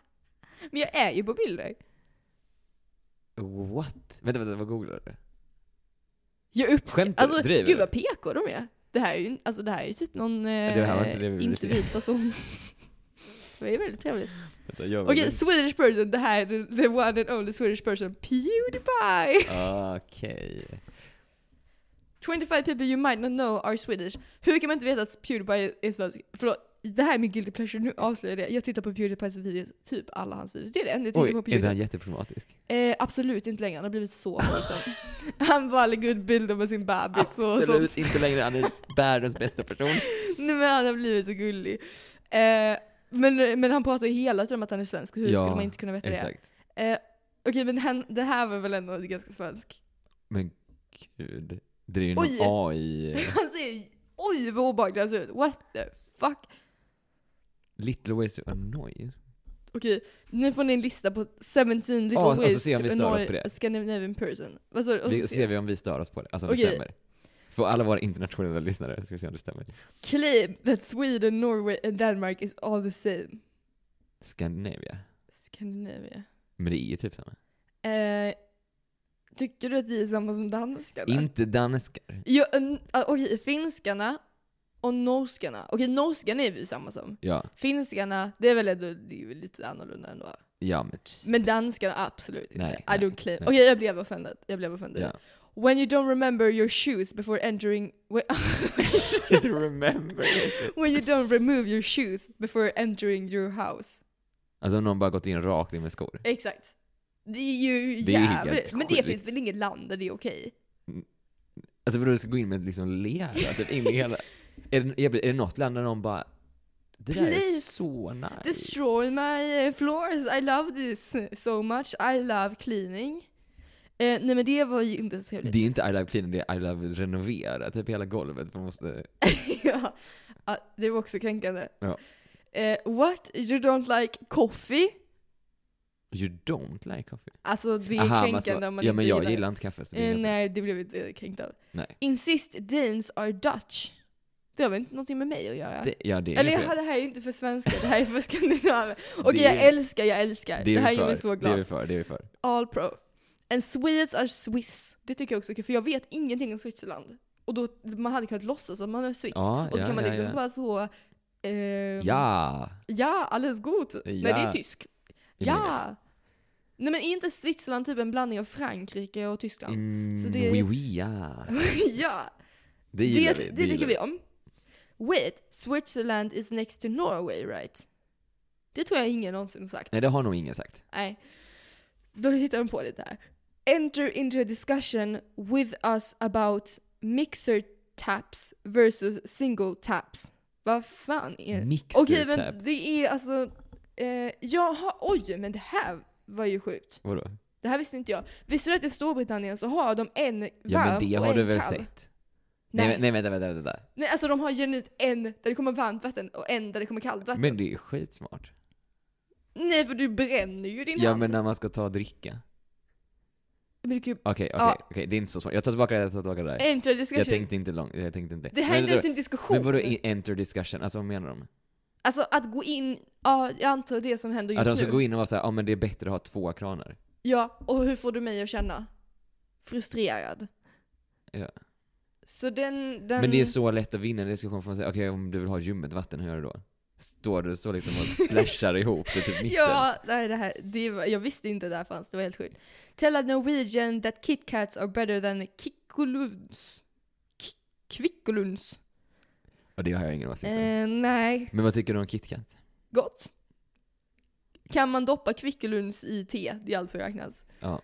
Speaker 1: *laughs* Men jag är ju på bilder.
Speaker 2: What? Vänta, vänta, vad googlar du?
Speaker 1: Jag uppskattar...
Speaker 2: Skämtar du?
Speaker 1: Alltså,
Speaker 2: Driver
Speaker 1: gud
Speaker 2: du?
Speaker 1: vad PK de är. Det här är ju, alltså, det här är ju typ någon eh,
Speaker 2: det här var inte det vi ville
Speaker 1: inte
Speaker 2: se.
Speaker 1: vit person. *laughs* det är väldigt trevligt.
Speaker 2: Vänta, jag
Speaker 1: Okej, Swedish person. Det här är the, the one and only Swedish person. Pewdiepie!
Speaker 2: Ah, Okej.
Speaker 1: 25 people you might not know are Swedish. Hur kan man inte veta att Pewdiepie är svensk? Förlåt, det här är min guilty pleasure. Nu avslöjar jag det. Jag tittar på Pewdiepies videos, typ alla hans videos. Det är det enda jag tittar
Speaker 2: Oj,
Speaker 1: på
Speaker 2: är
Speaker 1: Pewdiepie.
Speaker 2: den jätteproblematisk?
Speaker 1: Eh, absolut inte längre, han har blivit så våldsam. *laughs* han bara lägger ut bilder med sin bebis och sånt.
Speaker 2: inte längre, han är världens
Speaker 1: *laughs*
Speaker 2: bästa person.
Speaker 1: Nej men han har blivit så gullig. Eh, men, men han pratar ju hela tiden om att han är svensk, hur
Speaker 2: Ja,
Speaker 1: skulle man inte kunna veta
Speaker 2: Exakt.
Speaker 1: det? Eh, Okej men han, det här var väl ändå ganska svensk? *laughs*
Speaker 2: Men gud, det är ju
Speaker 1: Oj.
Speaker 2: någon AI...
Speaker 1: Han säger oj vad obehaglig han ser ut, what the fuck?
Speaker 2: Little ways to annoy.
Speaker 1: Okej, nu får ni en lista på 17 little
Speaker 2: Ja, och så
Speaker 1: ways
Speaker 2: ser vi om vi
Speaker 1: to
Speaker 2: stör oss
Speaker 1: annoy
Speaker 2: på det.
Speaker 1: a Scandinavian person. Vad sa du? Och
Speaker 2: Vi
Speaker 1: så
Speaker 2: ser vi om vi stör oss på det, alltså om
Speaker 1: Okej.
Speaker 2: det stämmer. För alla våra internationella lyssnare ska vi se om det stämmer.
Speaker 1: Claim that Sweden, Norway and Denmark is all the same.
Speaker 2: Scandinavia.
Speaker 1: Scandinavia.
Speaker 2: Men det är ju typ samma.
Speaker 1: Eh, tycker du att vi är samma som danskarna?
Speaker 2: Inte danskar.
Speaker 1: Jo, n- ah, Okej, finskarna och norskarna. Okej, norskarna är vi ju samma som.
Speaker 2: Ja,
Speaker 1: Finskarna, det är väl ändå det är väl lite annorlunda ändå.
Speaker 2: ja men tss.
Speaker 1: Men danskarna, absolut inte.
Speaker 2: Nej,
Speaker 1: I
Speaker 2: nej,
Speaker 1: don't claim.
Speaker 2: nej.
Speaker 1: Okej, jag blev offended. Jag blev offended.
Speaker 2: Ja.
Speaker 1: When you don't remember your shoes before entering... When, *laughs*
Speaker 2: Inte remember.
Speaker 1: when you don't remove your shoes before entering your house.
Speaker 2: Alltså om någon bara gått in rakt in med skor.
Speaker 1: Exakt. Det är ju
Speaker 2: Det är ju helt
Speaker 1: jävligt. Men det
Speaker 2: sjukt.
Speaker 1: finns väl inget land där det är okej?
Speaker 2: Alltså för du ska gå in med liksom lera, typ in
Speaker 1: *laughs*
Speaker 2: i hela... Är det, är det något land där någon bara... Det där är
Speaker 1: Please.
Speaker 2: så nice.
Speaker 1: Destroy my eh, floors, I love this so much. I love cleaning. Eh, Eh, nej men det var ju inte så trevligt.
Speaker 2: Det är inte I love clean, det är I love renovera. Typ hela golvet. för Man måste...
Speaker 1: *laughs* ja. ja, det var också kränkande.
Speaker 2: Ja.
Speaker 1: Eh, what you don't like coffee?
Speaker 2: You don't like coffee.
Speaker 1: Alltså det är
Speaker 2: Aha, man ska-
Speaker 1: kränkande om man
Speaker 2: Ja
Speaker 1: inte
Speaker 2: men jag
Speaker 1: det.
Speaker 2: gillar inte kaffe. Så det är
Speaker 1: Eh,
Speaker 2: inga-
Speaker 1: nej, det blev vi inte kränkt av.
Speaker 2: Nej.
Speaker 1: Insist Danes are Dutch. Det har väl inte någonting med mig att göra?
Speaker 2: Det, ja, det är
Speaker 1: eh, Eller
Speaker 2: inget
Speaker 1: jag
Speaker 2: fel.
Speaker 1: hade det här är inte för svenska, det här är för skandinaver. Okej,
Speaker 2: *laughs* Det-
Speaker 1: jag älskar, jag älskar. Det,
Speaker 2: är vi
Speaker 1: här gör
Speaker 2: för,
Speaker 1: mig så
Speaker 2: Det är
Speaker 1: glad.
Speaker 2: vi för, det är vi för.
Speaker 1: All pro. And Swedes are Swiss. Det tycker jag också är kul, för jag vet ingenting om Switzerland. Och då, man hade kunnat låtsas att man är Swiss.
Speaker 2: Ja,
Speaker 1: och så
Speaker 2: ja,
Speaker 1: kan man
Speaker 2: ja,
Speaker 1: liksom
Speaker 2: ja.
Speaker 1: bara så... ehm,
Speaker 2: Ja!
Speaker 1: Ja, alldeles god. Nej, det är
Speaker 2: Ja.
Speaker 1: tysk.
Speaker 2: I
Speaker 1: Ja! Nej men är inte Switzerland typ en blandning av Frankrike och Tyskland?
Speaker 2: Mm,
Speaker 1: Så det-
Speaker 2: oui, oui, ja.
Speaker 1: *laughs* ja!
Speaker 2: Det
Speaker 1: Det,
Speaker 2: gillar
Speaker 1: det,
Speaker 2: vi. gillar
Speaker 1: tycker vi om. Wait, Switzerland is next to Norway right? Det tror jag ingen någonsin har sagt.
Speaker 2: Nej, det har nog ingen sagt.
Speaker 1: Nej. Då hittar de på lite här. Enter into a discussion with us about mixer taps versus single taps. Vad fan är det?
Speaker 2: Mixer
Speaker 1: Okej men
Speaker 2: tab.
Speaker 1: det är alltså... Eh, jaha, oj men det här var ju sjukt.
Speaker 2: Vadå?
Speaker 1: Det här visste inte jag. Visste du att i Storbritannien så har de en varm
Speaker 2: Ja men det
Speaker 1: och
Speaker 2: har
Speaker 1: en
Speaker 2: du väl
Speaker 1: kall?
Speaker 2: sett?
Speaker 1: Nej.
Speaker 2: Nej, men- nej vänta, vänta, vänta. vänta.
Speaker 1: Nej, alltså de har genuint en där det kommer varmt vatten och en där det kommer kallt vatten.
Speaker 2: Men det är skitsmart.
Speaker 1: Nej, för du bränner ju din
Speaker 2: Ja
Speaker 1: hand.
Speaker 2: men när man ska ta och dricka.
Speaker 1: Men du kan ju...
Speaker 2: Okej, okej,
Speaker 1: Ja.
Speaker 2: okej, det är inte så svårt. Jag tar tillbaka det, jag tar tillbaka det där.
Speaker 1: Enter discussion.
Speaker 2: Jag tänkte inte långt, jag tänkte inte.
Speaker 1: Det här är
Speaker 2: Men
Speaker 1: inte
Speaker 2: vadå-
Speaker 1: ens en diskussion.
Speaker 2: Men vadå i- enter discussion? Alltså vad menar de?
Speaker 1: Alltså att gå in... Ja, jag antar det som händer just
Speaker 2: Att de ska
Speaker 1: nu.
Speaker 2: gå in och vara såhär, ja ah, men det är bättre att ha två kranar.
Speaker 1: Ja, och hur får du mig att känna? Frustrerad.
Speaker 2: Ja.
Speaker 1: Så den... den...
Speaker 2: Men det är så lätt att vinna en diskussion för man säger, okej om du vill ha ljummet vatten, hur gör du då? Står du så liksom och splashar ihop det till mitten?
Speaker 1: Ja, nej, det här, det var, jag visste inte att det här fanns, det var helt sjukt. Tell a Norwegian that Kit Kats are better than Kikkolunds. Ki- Kvickolunds.
Speaker 2: Och det har jag ingen åsikt om.
Speaker 1: Eh, nej,
Speaker 2: Men vad tycker du om KitKat?
Speaker 1: Gott. Kan man doppa kvickelunds i te? Det är allt som räknas.
Speaker 2: Ja.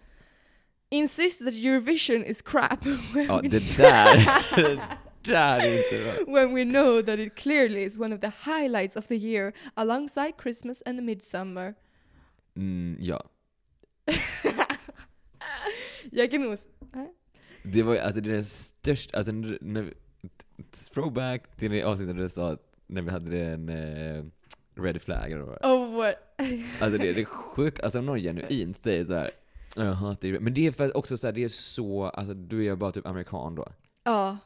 Speaker 1: Insist that your vision is crap *laughs* when,
Speaker 2: Ja,
Speaker 1: we,
Speaker 2: det där, *laughs* det där är inte bra.
Speaker 1: when we know that it clearly is one of the highlights of the year alongside Christmas and midsummer. *laughs*
Speaker 2: Mm, ja.
Speaker 1: Jag kan nog...
Speaker 2: Det var ju alltså det är den största, alltså när, när, vi- throwback till det avsnittet där du sa att när vi hade den eh, red flag eller vad det var.
Speaker 1: Oh, what?
Speaker 2: Alltså det, det är sjukt, alltså om någon genuint säger såhär jag hatar ju-" Men det är för att också såhär, det är så, alltså du är bara typ amerikan då.
Speaker 1: ja.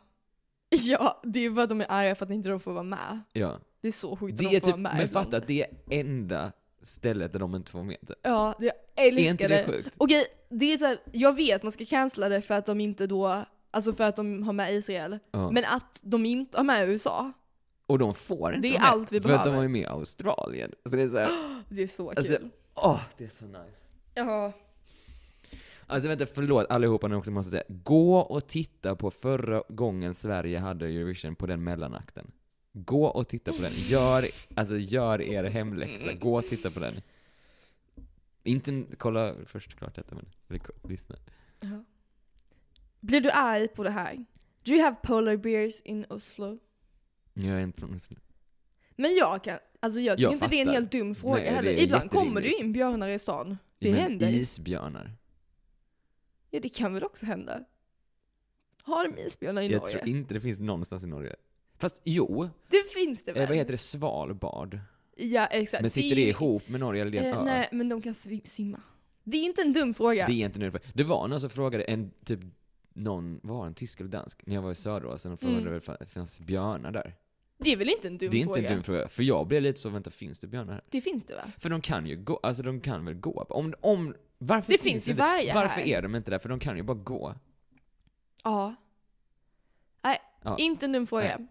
Speaker 1: Ja, det är ju för att de är arga för att inte de får vara med.
Speaker 2: Ja.
Speaker 1: Det är så sjukt att
Speaker 2: Det
Speaker 1: de
Speaker 2: är
Speaker 1: får
Speaker 2: typ,
Speaker 1: vara med
Speaker 2: men
Speaker 1: ibland.
Speaker 2: fatta att det är enda stället där de inte får med det.
Speaker 1: Ja, det, jag
Speaker 2: Är
Speaker 1: älskar
Speaker 2: inte det sjukt?
Speaker 1: Okej, det är så här, jag vet man ska cancella det för att de inte då, alltså för att de har med Israel.
Speaker 2: Ja.
Speaker 1: Men att de inte har med USA,
Speaker 2: Och de får inte
Speaker 1: Det är
Speaker 2: vara med,
Speaker 1: allt vi
Speaker 2: För att de
Speaker 1: behöver.
Speaker 2: var ju med i Australien. Så det är såhär,
Speaker 1: det är så
Speaker 2: Alltså-
Speaker 1: kul.
Speaker 2: åh det är så nice.
Speaker 1: Ja.
Speaker 2: Alltså vänta, förlåt allihopa nu också måste jag säga. Gå och titta på förra gången Sverige hade Eurovision på den mellanakten. Gå och titta på den. Gör, alltså gör er hemläxa. Gå och titta på den. Inte kolla först klart detta men, eller ko- lyssna.
Speaker 1: ja. Blir du arg på det här? Do you have polar bears in Oslo?
Speaker 2: Jag är inte från Oslo.
Speaker 1: Men jag kan, alltså jag tycker
Speaker 2: Jag
Speaker 1: inte det är en
Speaker 2: fattar.
Speaker 1: helt dum fråga
Speaker 2: Nej, det
Speaker 1: heller.
Speaker 2: är
Speaker 1: Ibland kommer det
Speaker 2: jätterimligt.
Speaker 1: ju in björnar i stan. Det
Speaker 2: Men
Speaker 1: händer.
Speaker 2: Isbjörnar.
Speaker 1: Ja det kan väl också hända? Har de isbjörnar i
Speaker 2: Jag
Speaker 1: Norge?
Speaker 2: tror inte det finns någonstans i Norge. Fast jo,
Speaker 1: Det finns det väl?
Speaker 2: eh, vad heter det? Svalbard.
Speaker 1: Ja exakt.
Speaker 2: Men sitter det ihop med Norge eller det är en
Speaker 1: Eh,
Speaker 2: ö?
Speaker 1: nej, men de kan svim- simma. Det är inte en dum fråga.
Speaker 2: Det är inte nödvändigt. Det var någon som frågade en typ någon, var en tysk eller dansk? När jag var i Söderåsen och frågade
Speaker 1: Mm.
Speaker 2: mm. om det fanns björnar där.
Speaker 1: Det är väl inte en dum
Speaker 2: det är inte
Speaker 1: fråga?
Speaker 2: en dum fråga. För jag blev lite så, vänta finns det björnar här?
Speaker 1: Det finns det va?
Speaker 2: För de kan ju gå, alltså de kan väl gå? Om, om, varför
Speaker 1: Det finns ju
Speaker 2: inte-
Speaker 1: vargar
Speaker 2: Varför
Speaker 1: här.
Speaker 2: är de inte där? För de kan ju bara gå.
Speaker 1: Ja. Nej,
Speaker 2: Ja.
Speaker 1: inte en dum fråga.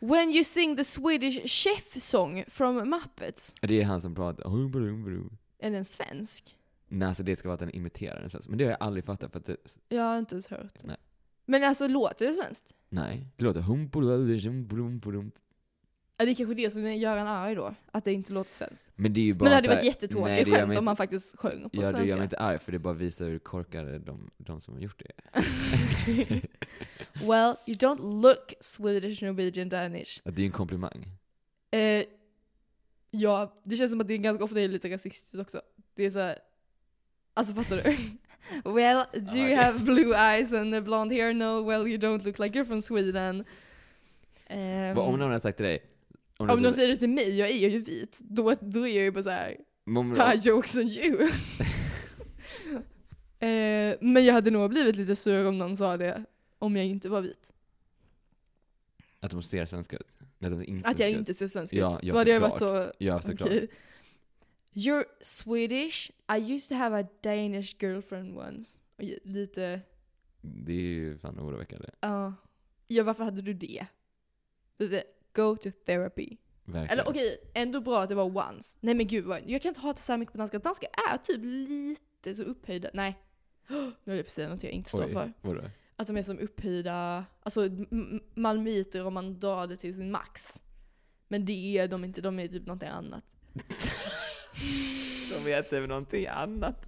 Speaker 1: When you sing the Swedish chef song from Muppets.
Speaker 2: Det är han som pratar "Hum, brum, brum."
Speaker 1: Är den svensk?
Speaker 2: Nej alltså det ska vara att den imiterar en svensk. Men det har jag aldrig fattat för att det,
Speaker 1: Jag har inte ens hört det.
Speaker 2: Nej.
Speaker 1: Men alltså låter det svenskt?
Speaker 2: nej. Det låter hum, brum, brum, brum, brum.
Speaker 1: Ja, det är kanske det som gör en arg då, att det inte låter svenskt.
Speaker 2: Men det är ju bara
Speaker 1: Men det hade
Speaker 2: så här-
Speaker 1: varit
Speaker 2: nej,
Speaker 1: jättetråkigt
Speaker 2: det gör mig
Speaker 1: skämt om
Speaker 2: inte-
Speaker 1: man faktiskt sjöng på
Speaker 2: Ja, det gör
Speaker 1: svenska.
Speaker 2: mig inte *laughs* arg för det bara visar hur korkade de, de som har gjort det
Speaker 1: *laughs* well, you don't look Swedish, Norwegian, Danish.
Speaker 2: är. Det är ju en komplimang.
Speaker 1: Eh, ja, det känns som att det är ganska ofta är lite rasistiskt också. Det är så här, Alltså fattar du? *laughs* well, do you
Speaker 2: okej.
Speaker 1: have blue eyes and a blonde hair? No, well you don't look like you're from Sweden. Ehm,
Speaker 2: Vad om någon hade sagt till dig? Om du
Speaker 1: om någon
Speaker 2: hade-
Speaker 1: säger det till mig, jag är ju vit, då, då är jag ju bara såhär
Speaker 2: Mom-
Speaker 1: Ha, jokes on
Speaker 2: *laughs*
Speaker 1: you. eh, men jag hade nog blivit lite sur om någon sa det om jag inte var vit.
Speaker 2: Att de ser svenska ut? Nej, de inte
Speaker 1: Att jag
Speaker 2: svenska ut.
Speaker 1: inte ser svensk
Speaker 2: Ja,
Speaker 1: ut.
Speaker 2: ja,
Speaker 1: Då hade jag varit så...
Speaker 2: såklart. Ja, såklart.
Speaker 1: okej. You're Swedish. I used to have a Danish girlfriend once. Och j- lite...
Speaker 2: Det är ju fan oroväckande.
Speaker 1: Ja. ja, varför hade du det? Det- det- Go to therapy.
Speaker 2: Verkligen.
Speaker 1: Eller okej, ändå bra att det var once. Nej men gud, vad- jag kan inte hata så här mycket på danska. Danska är typ lite så upphöjda. Nej. *gasps* Nu höll jag på att säga något jag inte står
Speaker 2: Oj,
Speaker 1: för.
Speaker 2: Vadå?
Speaker 1: Att de är som upphöjda, alltså m- m- malmöiter om man drar det till sin max. Men det är de inte, de är typ någonting annat.
Speaker 2: *laughs*
Speaker 1: *laughs*
Speaker 2: De vet över någonting annat.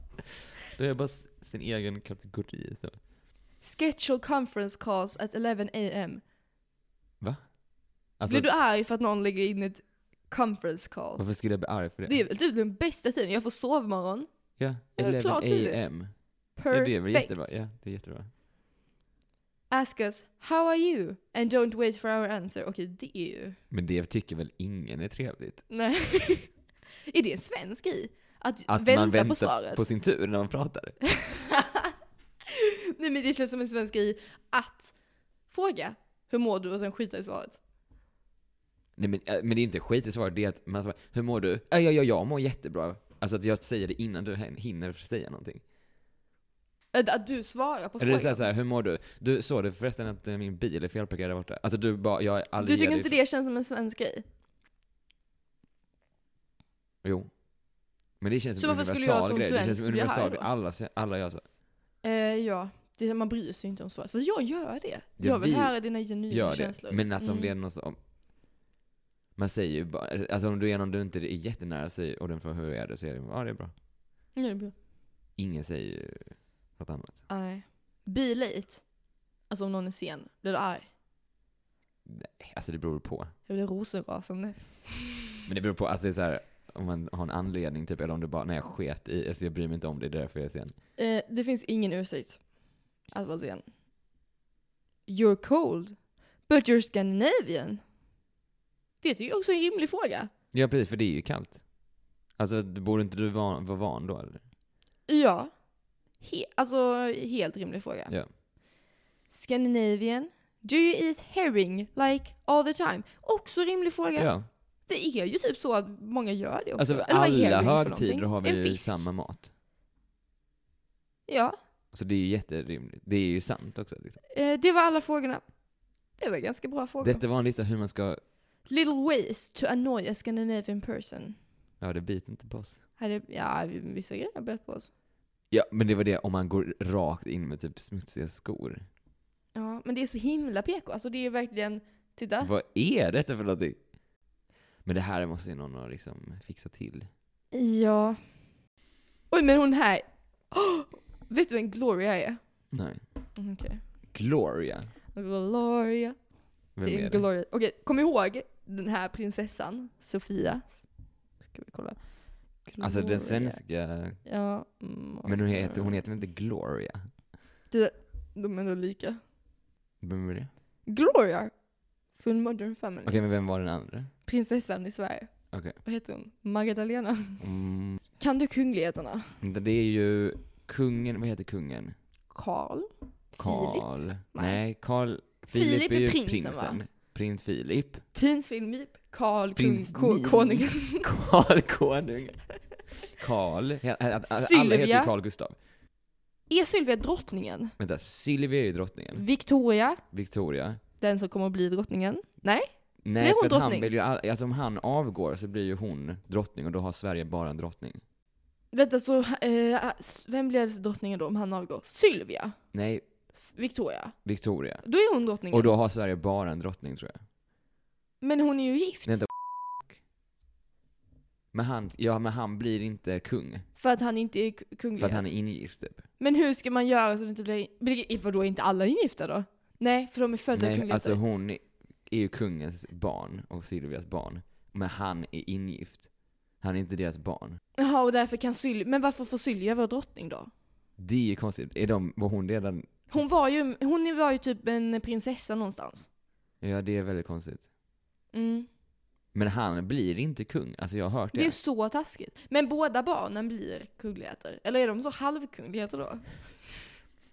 Speaker 2: De är bara s- sin egen kategori. Så.
Speaker 1: Schedule conference calls at 11 am.
Speaker 2: Alltså,
Speaker 1: Blir du arg för att någon lägger in ett conference call?
Speaker 2: Varför skulle jag bli arg för det?
Speaker 1: Det är väl typ den bästa tiden, jag får sovmorgon.
Speaker 2: ja,
Speaker 1: Ja,
Speaker 2: 11
Speaker 1: klart tydligt.
Speaker 2: am. Ja,
Speaker 1: Perfect.
Speaker 2: det är väl jättebra. Ja, det är jättebra.
Speaker 1: Ask us, how are you? And don't wait for our answer. Okej, det är ju...
Speaker 2: Men det tycker väl ingen är trevligt?
Speaker 1: Nej. *laughs* är det en svensk i? Att,
Speaker 2: Att
Speaker 1: vänta
Speaker 2: man väntar
Speaker 1: på svaret?
Speaker 2: sin tur när man pratar.
Speaker 1: *laughs* Nej men det känns som en svensk grej att fråga hur mår du och sen skita i svaret.
Speaker 2: Nej men, äh, men det är inte skit i svaret, det är att man svarar hur mår du? Äh, ja, ja, jag mår jättebra. Alltså att jag säger det innan du hin- hinner säga någonting.
Speaker 1: Att, att du svarar på
Speaker 2: Eller
Speaker 1: frågan.
Speaker 2: så här, så här, hur mår du? Du såg det förresten att eh, min bil är felparkerad där borta? Alltså du bara, jag är aldrig
Speaker 1: du tycker inte det känns som en svensk grej?
Speaker 2: Jo. Men det känns
Speaker 1: Så
Speaker 2: som
Speaker 1: varför skulle jag
Speaker 2: universal
Speaker 1: som
Speaker 2: grej. Det
Speaker 1: svensk
Speaker 2: känns som
Speaker 1: bli arg
Speaker 2: universal
Speaker 1: då?
Speaker 2: grej. Alla, alla gör så.
Speaker 1: Eh, ja, det, man bryr sig inte om svaret. För jag gör det. jag vill
Speaker 2: vi
Speaker 1: höra dina genuina
Speaker 2: Gör
Speaker 1: Mm, känslor.
Speaker 2: det. Men alltså om
Speaker 1: Mm.
Speaker 2: det är någon som... Man säger ju bara, alltså om du är någon du inte är jättenära sig och den frågar hur är det så är det, ja ah, det är bra.
Speaker 1: Ja, det är bra.
Speaker 2: Ingen säger ju något annat.
Speaker 1: Nej. Be late. Alltså om någon är sen, blir du arg?
Speaker 2: Alltså det beror på.
Speaker 1: Jag blir rosenrasande.
Speaker 2: Men det beror på, alltså det är så här, om man har en anledning typ, eller om du bara, nej jag sket i, alltså jag bryr mig inte om det, det är därför jag är sen.
Speaker 1: Eh, det finns ingen ursäkt att vara sen. You're cold, but you're Scandinavian. Det är ju också en rimlig fråga.
Speaker 2: Ja precis, för det är ju kallt. Alltså du- borde inte du van, vara van då eller?
Speaker 1: Ja. He- alltså, helt rimlig fråga.
Speaker 2: Ja.
Speaker 1: Scandinavian. Do you eat herring like all the time? Också rimlig fråga.
Speaker 2: Ja.
Speaker 1: Det är ju typ så att många gör det också.
Speaker 2: Alltså
Speaker 1: Eller vad är
Speaker 2: alla
Speaker 1: herring för
Speaker 2: högtider
Speaker 1: någonting?
Speaker 2: har vi
Speaker 1: En
Speaker 2: ju
Speaker 1: fisk.
Speaker 2: samma mat.
Speaker 1: Ja,
Speaker 2: Så det är ju jätterimligt. Det är ju sant också. Liksom.
Speaker 1: eh, det var alla frågorna. Det var ganska bra frågor.
Speaker 2: Detta var en lista hur man ska,
Speaker 1: Little ways to annoy a Scandinavian person.
Speaker 2: ja det biter inte på oss.
Speaker 1: Hade, ja, vissa grejer har bett på oss.
Speaker 2: Ja, men det var det om man går rakt in med typ smutsiga skor.
Speaker 1: Ja, men det är så himla PK. Alltså det är verkligen, titta.
Speaker 2: Vad är detta för någonting? Men det här måste ju någon ha liksom fixa till.
Speaker 1: Ja. Oj, men hon här. Åh! vet du vem Gloria är?
Speaker 2: Nej.
Speaker 1: Mm, Okej.
Speaker 2: Gloria.
Speaker 1: Gloria.
Speaker 2: Vem
Speaker 1: Det är
Speaker 2: är det?
Speaker 1: Gloria. Okej, kom ihåg den här prinsessan, Sofia. Ska vi kolla.
Speaker 2: Alltså
Speaker 1: Gloria.
Speaker 2: den svenska...
Speaker 1: Ja. mm,
Speaker 2: Men hon heter, hon heter väl inte Gloria?
Speaker 1: Du, de är ändå lika.
Speaker 2: Vem är det?
Speaker 1: Gloria! Från Modern Family.
Speaker 2: Okej, men vem var den andra?
Speaker 1: Prinsessan i Sverige.
Speaker 2: Okej.
Speaker 1: Vad heter hon? Magdalena.
Speaker 2: Mm,
Speaker 1: Kan du kungligheterna?
Speaker 2: det är ju kungen, vad heter kungen?
Speaker 1: Karl? Filip?
Speaker 2: Karl. Nej, Karl...
Speaker 1: Filip är
Speaker 2: ju
Speaker 1: prinsen, va?
Speaker 2: Prins Filip.
Speaker 1: Prins Filip, Karl,
Speaker 2: Prins
Speaker 1: kung, ko-
Speaker 2: Filip.
Speaker 1: konungen.
Speaker 2: *laughs* Karl Konung. Karl. he- he- Alla heter
Speaker 1: Sylvia.
Speaker 2: ju Karl Gustav.
Speaker 1: Är Sylvia drottningen?
Speaker 2: Vänta, Sylvia är ju
Speaker 1: Mm.
Speaker 2: drottningen.
Speaker 1: Victoria,
Speaker 2: Victoria.
Speaker 1: den som kommer att bli drottningen.
Speaker 2: Nej,
Speaker 1: Blir hon
Speaker 2: för att han
Speaker 1: drottning?
Speaker 2: vill ju, all- alltså om han avgår så blir ju hon drottning och då har Sverige bara en drottning.
Speaker 1: Vänta, så eh, s- vem blir alltså drottningen då om han avgår? Sylvia,
Speaker 2: Nej,
Speaker 1: S- Victoria.
Speaker 2: Victoria.
Speaker 1: Då är hon drottningen.
Speaker 2: Och då har Sverige bara en drottning tror jag.
Speaker 1: Men hon är ju gift.
Speaker 2: Vänta. Men han, ja, men han blir inte kung.
Speaker 1: För att han inte är k- kunglighet.
Speaker 2: För att han är ingift typ.
Speaker 1: Men hur ska man göra så det inte blir... blir vadå, är inte alla ingifta då? Nej, för de är födda
Speaker 2: Nej,
Speaker 1: kungligheter.
Speaker 2: alltså hon är ju kungens barn och Silvias barn. Men han är ingift. Han är inte deras barn.
Speaker 1: Jaha, och därför kan Sylvia... Men varför får Sylvia vara drottning då?
Speaker 2: Det är konstigt. Är de, var hon redan...
Speaker 1: Hon var ju, hon var ju typ en prinsessa någonstans.
Speaker 2: Ja, det är väldigt konstigt.
Speaker 1: Mm.
Speaker 2: Men han blir inte kung. Alltså jag har hört det.
Speaker 1: Det är så taskigt. Men båda barnen blir kungligheter. Eller är de så halvkungligheter då?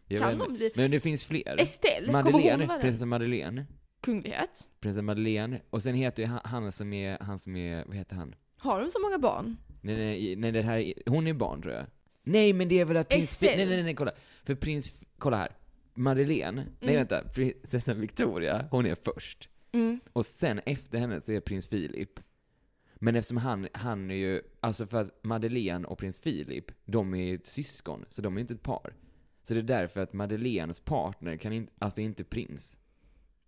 Speaker 2: jag
Speaker 1: kan
Speaker 2: vet
Speaker 1: de
Speaker 2: inte.
Speaker 1: bli?
Speaker 2: Men det finns fler.
Speaker 1: Estelle, kommer hon
Speaker 2: Madeleine,
Speaker 1: vara den?
Speaker 2: prinsessa Madeleine.
Speaker 1: Kunglighet?
Speaker 2: Prinsessa Madeleine. Och sen heter ju han, han som är, han som är, vad heter han?
Speaker 1: Har de så många barn?
Speaker 2: Nej, nej, nej, det här är, hon är barn tror jag. Nej, men det är väl att prins... Fi-
Speaker 1: Estelle.
Speaker 2: nej, nej, nej, kolla. För prins, F- kolla här. Madeleine,
Speaker 1: Mm.
Speaker 2: nej vänta, prinsessan Victoria, hon är först.
Speaker 1: Mm.
Speaker 2: Och sen efter henne så är prins Philip. Men eftersom han, han är ju, alltså för att Madeleine och prins Philip, de är ju ett syskon, så de är ju inte ett par. Så det är därför att Madeleines partner kan inte, alltså inte prins.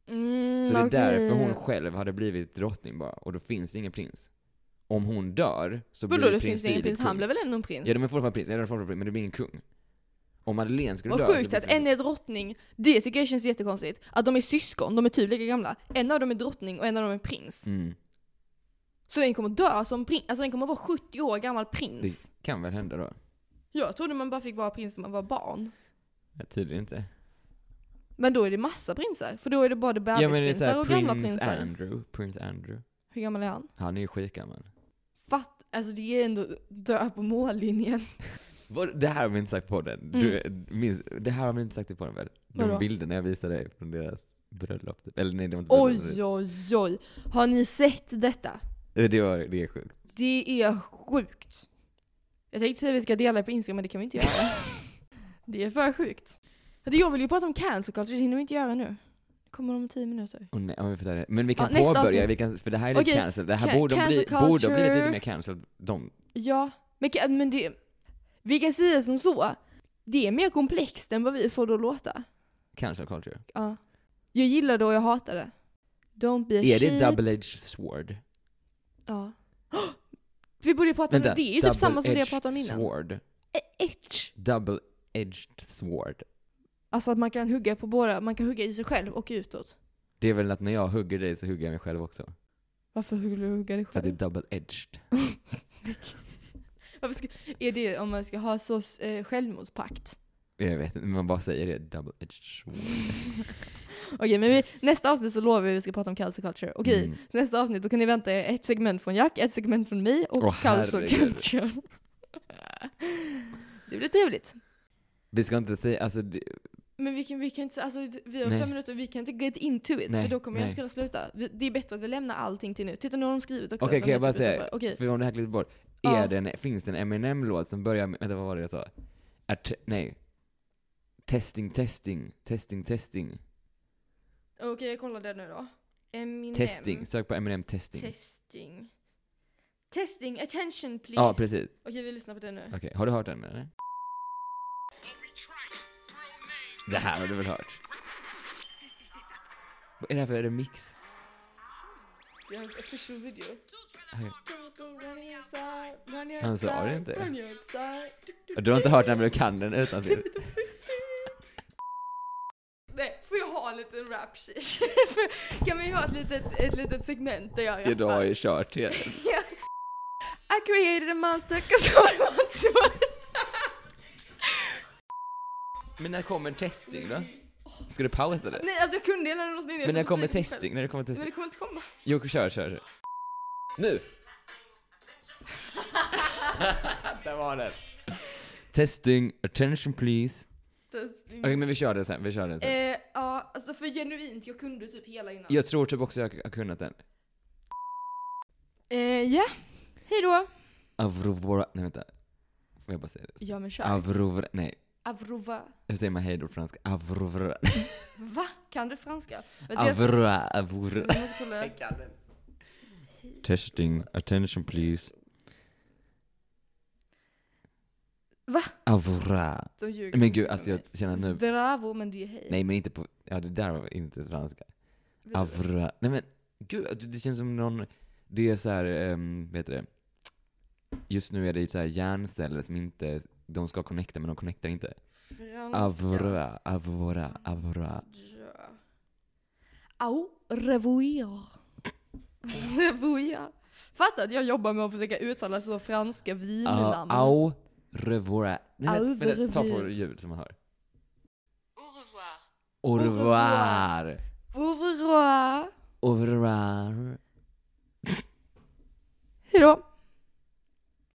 Speaker 1: Mm,
Speaker 2: Så det är
Speaker 1: okej.
Speaker 2: därför hon själv hade blivit drottning bara, och då finns det ingen prins. Om hon dör så
Speaker 1: Vadå,
Speaker 2: blir
Speaker 1: det
Speaker 2: prins
Speaker 1: finns ingen
Speaker 2: Philip
Speaker 1: prins?
Speaker 2: kung.
Speaker 1: Han blev väl ändå en prins?
Speaker 2: Ja, de är fortfarande prins. Ja, de är fortfarande prins, men det blir ingen kung. Om Madeleine skulle dö...
Speaker 1: Vad
Speaker 2: så
Speaker 1: sjukt
Speaker 2: blir
Speaker 1: att
Speaker 2: det-
Speaker 1: en är drottning, det tycker jag känns jättekonstigt. Att de är syskon, de är typ lika gamla. En av dem är drottning och en av dem är prins.
Speaker 2: Mm,
Speaker 1: Så den kommer dö som prins, alltså den kommer vara 70 år gammal prins.
Speaker 2: det kan väl hända då?
Speaker 1: Jag trodde man bara fick vara prins när man var barn.
Speaker 2: Ja, tydligen inte. Men
Speaker 1: Men då är det massa prinsar, för då är det både
Speaker 2: ja, men det är
Speaker 1: bebisprinsar
Speaker 2: såhär,
Speaker 1: och gamla
Speaker 2: prins
Speaker 1: prinsar.
Speaker 2: Andrew. Prins Andrew.
Speaker 1: Hur gammal är han?
Speaker 2: Han är ju skitgammal.
Speaker 1: Fatt, alltså det är ändå dö på mållinjen.
Speaker 2: Vad- Det här har vi inte sagt på den. Du, minns, det här har vi inte sagt i podden väl? De
Speaker 1: Mm. Vadå?
Speaker 2: bilderna jag visade dig från deras bröllop. typ. Eller nej, det var inte bröllop.
Speaker 1: Oj, oj, oj. Har ni sett detta?
Speaker 2: Det, det, var, det är sjukt.
Speaker 1: Det är sjukt. Jag tänkte säga att vi ska dela det på Instagram, men det kan vi inte göra. *laughs* det är för sjukt. För Jag vill ju prata om cancel culture, det hinner vi inte göra nu. Kommer om tio minuter.
Speaker 2: Åh, nej, ja, men, vi får ta det. men vi kan
Speaker 1: Ja, nästa
Speaker 2: påbörja,
Speaker 1: avsnitt.
Speaker 2: vi kan, för det här är lite
Speaker 1: Okej,
Speaker 2: cancelled. Det här
Speaker 1: ca-
Speaker 2: borde, de bli,
Speaker 1: cancel
Speaker 2: borde de bli lite
Speaker 1: culture.
Speaker 2: mer cancelled. De,
Speaker 1: Ja, men, ka- men det... Vi kan säga som så. Det är mer komplext än vad vi får det att låta.
Speaker 2: cancel culture.
Speaker 1: Ja. Jag gillar det och jag hatar det. Don't be a
Speaker 2: Är det
Speaker 1: sheep.
Speaker 2: double-edged sword?
Speaker 1: Ja. *gasps* Vi borde ju prata om det. Det är ju typ samma som det jag
Speaker 2: double-edged
Speaker 1: pratade om innan.
Speaker 2: Sword.
Speaker 1: E- Edge.
Speaker 2: Double-edged sword.
Speaker 1: Alltså att man kan hugga på båda. Man kan hugga i sig själv och utåt.
Speaker 2: Det är väl att när jag hugger dig så hugger jag mig själv också.
Speaker 1: Varför skulle du hugga dig
Speaker 2: För att det är
Speaker 1: själv?
Speaker 2: double-edged.
Speaker 1: Varför ska, är det om man ska ha så eh, självmordspakt?
Speaker 2: Jag vet inte, men man bara säger det. Double-edged sword.
Speaker 1: Okej, men vi, nästa avsnitt så lovar vi att vi ska prata om cancel culture. Okej,
Speaker 2: Mm.
Speaker 1: nästa avsnitt då kan ni vänta er ett segment från Jack, ett segment från mig och
Speaker 2: Åh,
Speaker 1: cancel
Speaker 2: herregud.
Speaker 1: culture. *laughs* det blir trevligt.
Speaker 2: Vi ska inte säga, alltså det,
Speaker 1: Men vi kan, vi kan inte, alltså, vi har
Speaker 2: Nej.
Speaker 1: fem minuter och vi kan inte get into it
Speaker 2: Nej,
Speaker 1: för då kommer jag
Speaker 2: nej.
Speaker 1: inte kunna sluta. Vi, det är bättre att vi lämnar allting till nu. Titta nu har de skrivit också.
Speaker 2: Okej,
Speaker 1: att
Speaker 2: kan
Speaker 1: de
Speaker 2: jag
Speaker 1: är
Speaker 2: bara
Speaker 1: typ
Speaker 2: säga-
Speaker 1: utanför. Okej,
Speaker 2: för om det här klippet bort.
Speaker 1: Ja.
Speaker 2: Är det en, finns det en Eminem-låt som börjar med, vänta vad var det jag sa? Att, nej. Testing, testing, testing, testing.
Speaker 1: Okej, jag kollar det nu då. Eminem.
Speaker 2: Testing, sök på Eminem testing.
Speaker 1: Testing. Testing, attention please.
Speaker 2: ja, precis.
Speaker 1: Okej, vi lyssnar på det nu.
Speaker 2: Okej, har du hört den eller? Det här har du väl hört? Vad är det här för remix?
Speaker 1: Vi har en official video.
Speaker 2: Okej.
Speaker 1: Han
Speaker 2: Han sa det inte.
Speaker 1: Run your side.
Speaker 2: Du har inte hört den men du kan den utan
Speaker 1: *laughs*
Speaker 2: till.
Speaker 1: Nej, får jag ha en liten rap sheet? *laughs* Kan vi ha ett litet, ett litet segment där jag rappar? *laughs*
Speaker 2: Idag är kört igen.
Speaker 1: Ja. I created a monster cause I want to...
Speaker 2: Men när kommer testing då? Ska du pausa det?
Speaker 1: Nej, alltså jag kunde hela den låten innan jag
Speaker 2: Men när
Speaker 1: satte
Speaker 2: kommer
Speaker 1: slutet själv.
Speaker 2: testing? När det kommer
Speaker 1: Men
Speaker 2: testing?
Speaker 1: det kommer inte komma.
Speaker 2: Jo, kör, kör, kör. Nu! *laughs* Där var den. Testing, attention please.
Speaker 1: Testing.
Speaker 2: Okej, men vi kör den sen. Vi kör den sen.
Speaker 1: Mm. Eh, ja, alltså för genuint, jag kunde typ hela innan.
Speaker 2: Jag tror typ också jag har kunnat den.
Speaker 1: Eh, ja, hej då.
Speaker 2: Avrovora... Nej, vänta. Får jag bara säga det?
Speaker 1: Ja men kör.
Speaker 2: Avrovora... Nej.
Speaker 1: Avrova.
Speaker 2: Hur säger man hej då på franska? Avrovora...
Speaker 1: Va? Kan du franska? Vänta, jag-
Speaker 2: Avrovora...
Speaker 1: jag
Speaker 2: Avrovora...
Speaker 1: måste *laughs* kolla.
Speaker 2: Testing, attention please.
Speaker 1: Va?
Speaker 2: Avrovora...
Speaker 1: De ljuger.
Speaker 2: Men gud, alltså jag känner att nu...
Speaker 1: Bravo, men det är hej.
Speaker 2: Nej men inte på... Ja det där var inte franska.
Speaker 1: Vet du?
Speaker 2: Avra... Nej men gud, alltså, det känns som någon... Det är så här, ehm, vad heter det? Just nu är det så här hjärnceller som inte... De ska connecta men de connectar inte.
Speaker 1: Franska.
Speaker 2: Avra, avra, avra.
Speaker 1: Ja. *laughs* Au revoir. revoir. Fatta att jag jobbar med att försöka uttala så franska
Speaker 2: Ja,
Speaker 1: vinnamn.
Speaker 2: au revoir. Nej,
Speaker 1: Au
Speaker 2: men, men, ta på
Speaker 1: revoir.
Speaker 2: ljud som man hör.
Speaker 3: Au revoir.
Speaker 2: Au
Speaker 1: revoir.
Speaker 2: revoir.
Speaker 1: Au revoir.
Speaker 2: Au revoir.
Speaker 1: Hejdå.